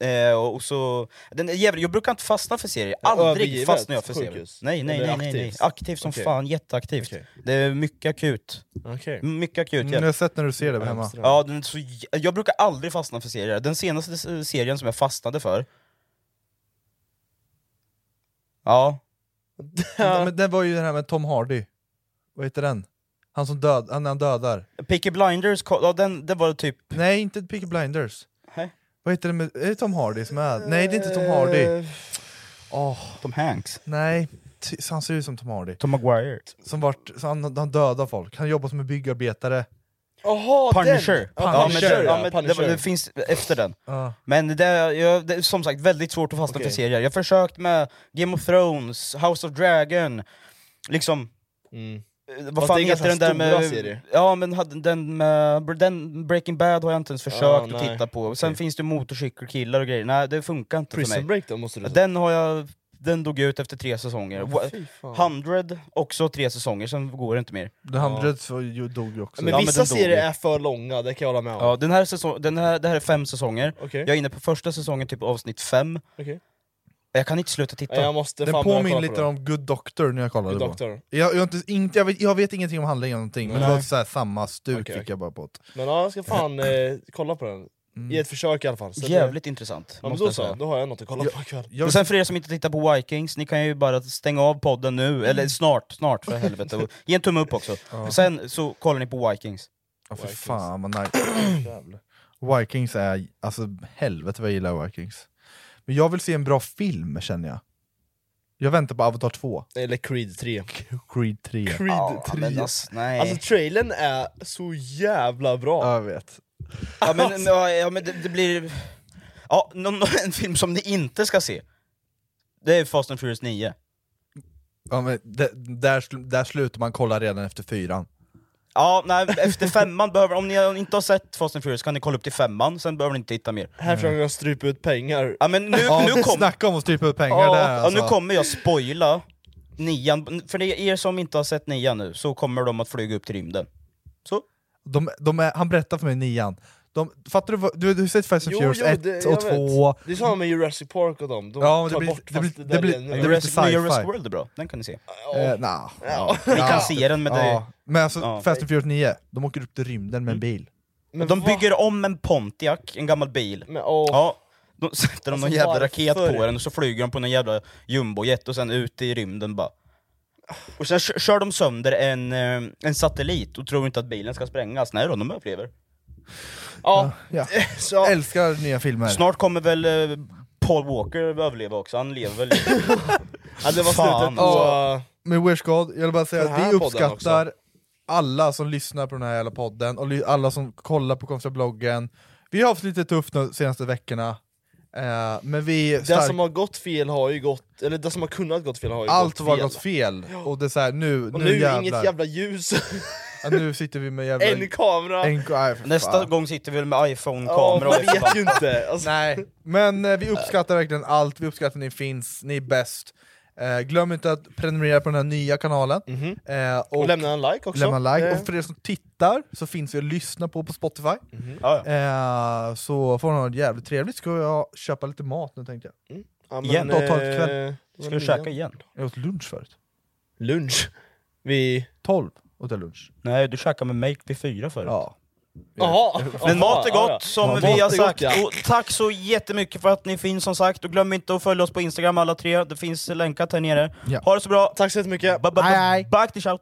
Speaker 4: Eh, och så, den är jävla, jag brukar inte fastna för serier, aldrig
Speaker 5: Övergivet
Speaker 4: fastnar jag för serier.
Speaker 5: sjukhus?
Speaker 4: Nej, nej,
Speaker 5: Eller
Speaker 4: nej, nej, nej.
Speaker 5: aktivt?
Speaker 4: Aktivt som
Speaker 5: Okej.
Speaker 4: fan, jätteaktivt.
Speaker 5: Okej.
Speaker 4: Det är mycket akut.
Speaker 5: Okej.
Speaker 4: Mycket akut
Speaker 3: Mm, jag
Speaker 4: hjälp.
Speaker 3: har sett när du ser det hemma.
Speaker 5: Amsterdam.
Speaker 4: Ja, den är så, jä- jag brukar aldrig fastna för serier. Den senaste s- serien som jag fastnade för... Ja,
Speaker 3: Men, men det var ju den här med Tom Hardy. Vad heter den? Han som död, han, han dödar.
Speaker 4: Peaky Blinders, ko- ja, den, det var typ...
Speaker 3: Nej, inte Peaky Blinders.
Speaker 4: Nej.
Speaker 3: Vad heter den med, är det Tom Hardy som är... Nej, det är inte Tom Hardy.
Speaker 5: Eh,
Speaker 3: Åh,
Speaker 4: Tom Hanks.
Speaker 3: nej. Ty, han ser ut som Tom Hardy.
Speaker 4: Tom Maguire.
Speaker 3: Som vart, så han, han dödar folk. Han jobbar som en byggarbetare.
Speaker 5: Jaha, den!
Speaker 4: Punisher.
Speaker 5: Ja, Punisher,
Speaker 4: ja,
Speaker 5: ja,
Speaker 4: men
Speaker 5: Punisher.
Speaker 4: Det, det finns efter den.
Speaker 5: Ja.
Speaker 4: Men det, är- jag, det är som sagt väldigt svårt att fastna
Speaker 5: Okej.
Speaker 4: för serier. Jag har försökt med Game of Thrones, House of Dragon, liksom...
Speaker 5: Mm.
Speaker 4: eh,
Speaker 5: Fast
Speaker 4: Vad
Speaker 5: det
Speaker 4: fan
Speaker 5: är
Speaker 4: heter
Speaker 5: ganska
Speaker 4: den där
Speaker 5: stora
Speaker 4: med...
Speaker 5: serier.
Speaker 4: Ja men hade den, med, den Breaking Bad har jag inte ens försökt
Speaker 5: Ja,
Speaker 4: att
Speaker 5: nej.
Speaker 4: titta på. Sen finns det motorcykelkillar och grejer, nej det funkar inte för mig.
Speaker 5: Prison Break då, måste du
Speaker 4: Den har jag... Den dog ut efter tre säsonger.
Speaker 5: Ja, fy fan.
Speaker 4: 100 också tre säsonger, sen går det inte mer.
Speaker 3: The Hundred så ju- dog ju också.
Speaker 4: Ja,
Speaker 5: Men
Speaker 4: men
Speaker 5: vissa
Speaker 4: den dog ju.
Speaker 5: serier är för långa, det kan jag hålla med om.
Speaker 4: Ja, den här säsong, den här, det här är fem säsonger,
Speaker 5: Okej.
Speaker 4: jag är inne på första säsongen, typ avsnitt fem.
Speaker 5: Okej.
Speaker 4: Jag kan inte sluta titta.
Speaker 5: Nej, jag måste
Speaker 3: Den påminner lite om Good Doctor när jag kollade
Speaker 5: Good
Speaker 3: på
Speaker 5: Doctor.
Speaker 3: den. jag, jag, har inte, inte, jag, vet, jag vet ingenting om handlingen eller någonting, men det
Speaker 5: Nej.
Speaker 3: var så här samma stuk
Speaker 5: Okej,
Speaker 3: fick
Speaker 5: okej.
Speaker 3: jag bara på ett.
Speaker 5: Men ja, jag ska fan eh, kolla på den. Ge ett försök i alla fall. Så det-
Speaker 4: Mm. Jävligt intressant,
Speaker 5: Ja, men
Speaker 4: måste
Speaker 5: då
Speaker 4: jag
Speaker 5: så,
Speaker 4: säga.
Speaker 5: då har jag något att kolla på ikväll.
Speaker 4: Och sen för er som inte tittar på Vikings, ni kan ju bara stänga av podden nu,
Speaker 5: Mm.
Speaker 4: eller snart, snart för helvete. Och Ge en tumme upp också.
Speaker 3: Ja.
Speaker 4: Sen så kollar ni på Vikings.
Speaker 3: Ja, för fan vad nice. Vikings är, alltså helvete vad jag gillar Vikings. Men jag vill se en bra film känner jag. Jag väntar på Avatar 2.
Speaker 5: Eller Creed 3.
Speaker 3: Creed 3.
Speaker 5: Creed 3.
Speaker 4: men alltså, nej.
Speaker 5: Alltså trailern är så jävla bra.
Speaker 3: Ja, jag vet.
Speaker 4: Ja
Speaker 5: alltså.
Speaker 4: men, ja, ja, men det, det blir... Ja, någon, en film som ni inte ska se, det är Fast and Furious 9.
Speaker 3: Ja, men det, där, sl- där slutar man kolla redan efter fyran.
Speaker 4: Ja, nej, efter femman behöver, om ni inte har sett Fast and Furious kan ni kolla upp till femman, sen behöver ni inte titta mer.
Speaker 5: Här försöker
Speaker 3: Mm.
Speaker 5: jag strypa ut pengar.
Speaker 4: Ja men nu,
Speaker 3: Ja,
Speaker 4: nu kom...
Speaker 3: Snacka om att strypa ut pengar
Speaker 4: ja,
Speaker 3: där
Speaker 4: ja,
Speaker 3: alltså.
Speaker 4: nu kommer jag spoila nian, för det är er som inte har sett nian nu, så kommer de att flyga upp till rymden. Så.
Speaker 3: De, de är, han berättar för mig nian. De, fattar du, vad- du, du har sett Fast and Furious 1
Speaker 5: jag
Speaker 3: och 2,
Speaker 5: vet. Det är samma med Jurassic Park och dem. De
Speaker 3: Ja, men det
Speaker 5: tar
Speaker 3: blir-
Speaker 5: bort
Speaker 3: det
Speaker 5: fast
Speaker 3: blir-
Speaker 5: där
Speaker 3: det blir-
Speaker 5: igen.
Speaker 3: det blir lite sci-fi.
Speaker 4: Jurassic World är bra, den kan ni se.
Speaker 3: Eh, nah.
Speaker 4: Ja. Ni kan se den, men det-
Speaker 3: Ja. Men alltså,
Speaker 4: Ja.
Speaker 3: Fast and Furious 9, de åker upp till rymden
Speaker 5: Mm.
Speaker 3: med en bil.
Speaker 4: Men de bygger om en Pontiac, en gammal bil.
Speaker 3: Mm.
Speaker 4: Ja, då sätter de någon
Speaker 5: Alltså,
Speaker 4: jävla
Speaker 5: varför?
Speaker 4: raket på den och så flyger de på någon jävla jumbojet och sen ut i rymden bara. Och sen kö- kör de sönder en, eh, en satellit och tror inte att bilen ska sprängas. Nej då, de överlever. Ja,
Speaker 3: ja. Jag älskar nya filmer.
Speaker 4: Snart kommer väl eh, Paul Walker överleva också, han lever väl
Speaker 5: Ja, det var slutet på-
Speaker 3: Ja. Men Wish God, jag vill bara säga
Speaker 5: Den
Speaker 3: att
Speaker 5: här
Speaker 3: vi
Speaker 5: podden
Speaker 3: uppskattar alla som lyssnar på den här jävla podden, och ly- alla som kollar på konstiga bloggen. Vi har haft lite tufft de senaste veckorna, eh, men vi... är
Speaker 5: Det
Speaker 3: stark-
Speaker 5: som har gått fel har ju gått, eller det som har kunnat gått fel har ju
Speaker 3: Allt
Speaker 5: gått
Speaker 3: var
Speaker 5: fel.
Speaker 3: gått fel, och det är såhär nu,
Speaker 5: Och
Speaker 3: nu,
Speaker 5: nu
Speaker 3: jävlar.
Speaker 5: inget jävla ljus.
Speaker 3: Ja, nu sitter vi med jävla...
Speaker 5: En kamera.
Speaker 3: En ka- nej, för
Speaker 4: Nästa
Speaker 3: fan.
Speaker 4: gång sitter vi väl med iPhone-kamera
Speaker 5: Ja, man
Speaker 4: också, va?
Speaker 5: vet ju inte. Alltså.
Speaker 3: Nej, men eh, vi uppskattar verkligen allt, vi uppskattar att ni finns, ni är bäst. Eh, glöm inte att prenumerera på den här nya kanalen. Eh, och,
Speaker 5: Och lämna en like också.
Speaker 3: Lämna en like.
Speaker 5: Eh.
Speaker 3: Och för er som tittar så finns vi att lyssna på på Spotify.
Speaker 4: Ja,
Speaker 3: Eh, så får ni ha det jävligt trevligt, ska jag köpa lite mat nu tänkte jag.
Speaker 5: Ja,
Speaker 3: Igen. Ta- ta ett kväll.
Speaker 5: eh,
Speaker 4: Ska du käka igen?
Speaker 3: Jag åt lunch förut.
Speaker 5: Lunch? Vi...
Speaker 3: 12 åt jag lunch.
Speaker 4: Nej, du käkade med mig vid fyra förut.
Speaker 3: Ja.
Speaker 5: Jaha!
Speaker 4: Men mat är
Speaker 5: Ja, ja.
Speaker 4: gott, som
Speaker 3: Mat
Speaker 4: vi
Speaker 3: är
Speaker 4: har
Speaker 5: gott,
Speaker 4: sagt.
Speaker 5: ja.
Speaker 4: Och tack så jättemycket för att ni finns som sagt. Och glöm inte att följa oss på Instagram alla tre. Det finns länkat här nere.
Speaker 3: Ja.
Speaker 4: Ha det så bra!
Speaker 5: Tack så jättemycket.
Speaker 4: Ba- ba- ba- Back to shout!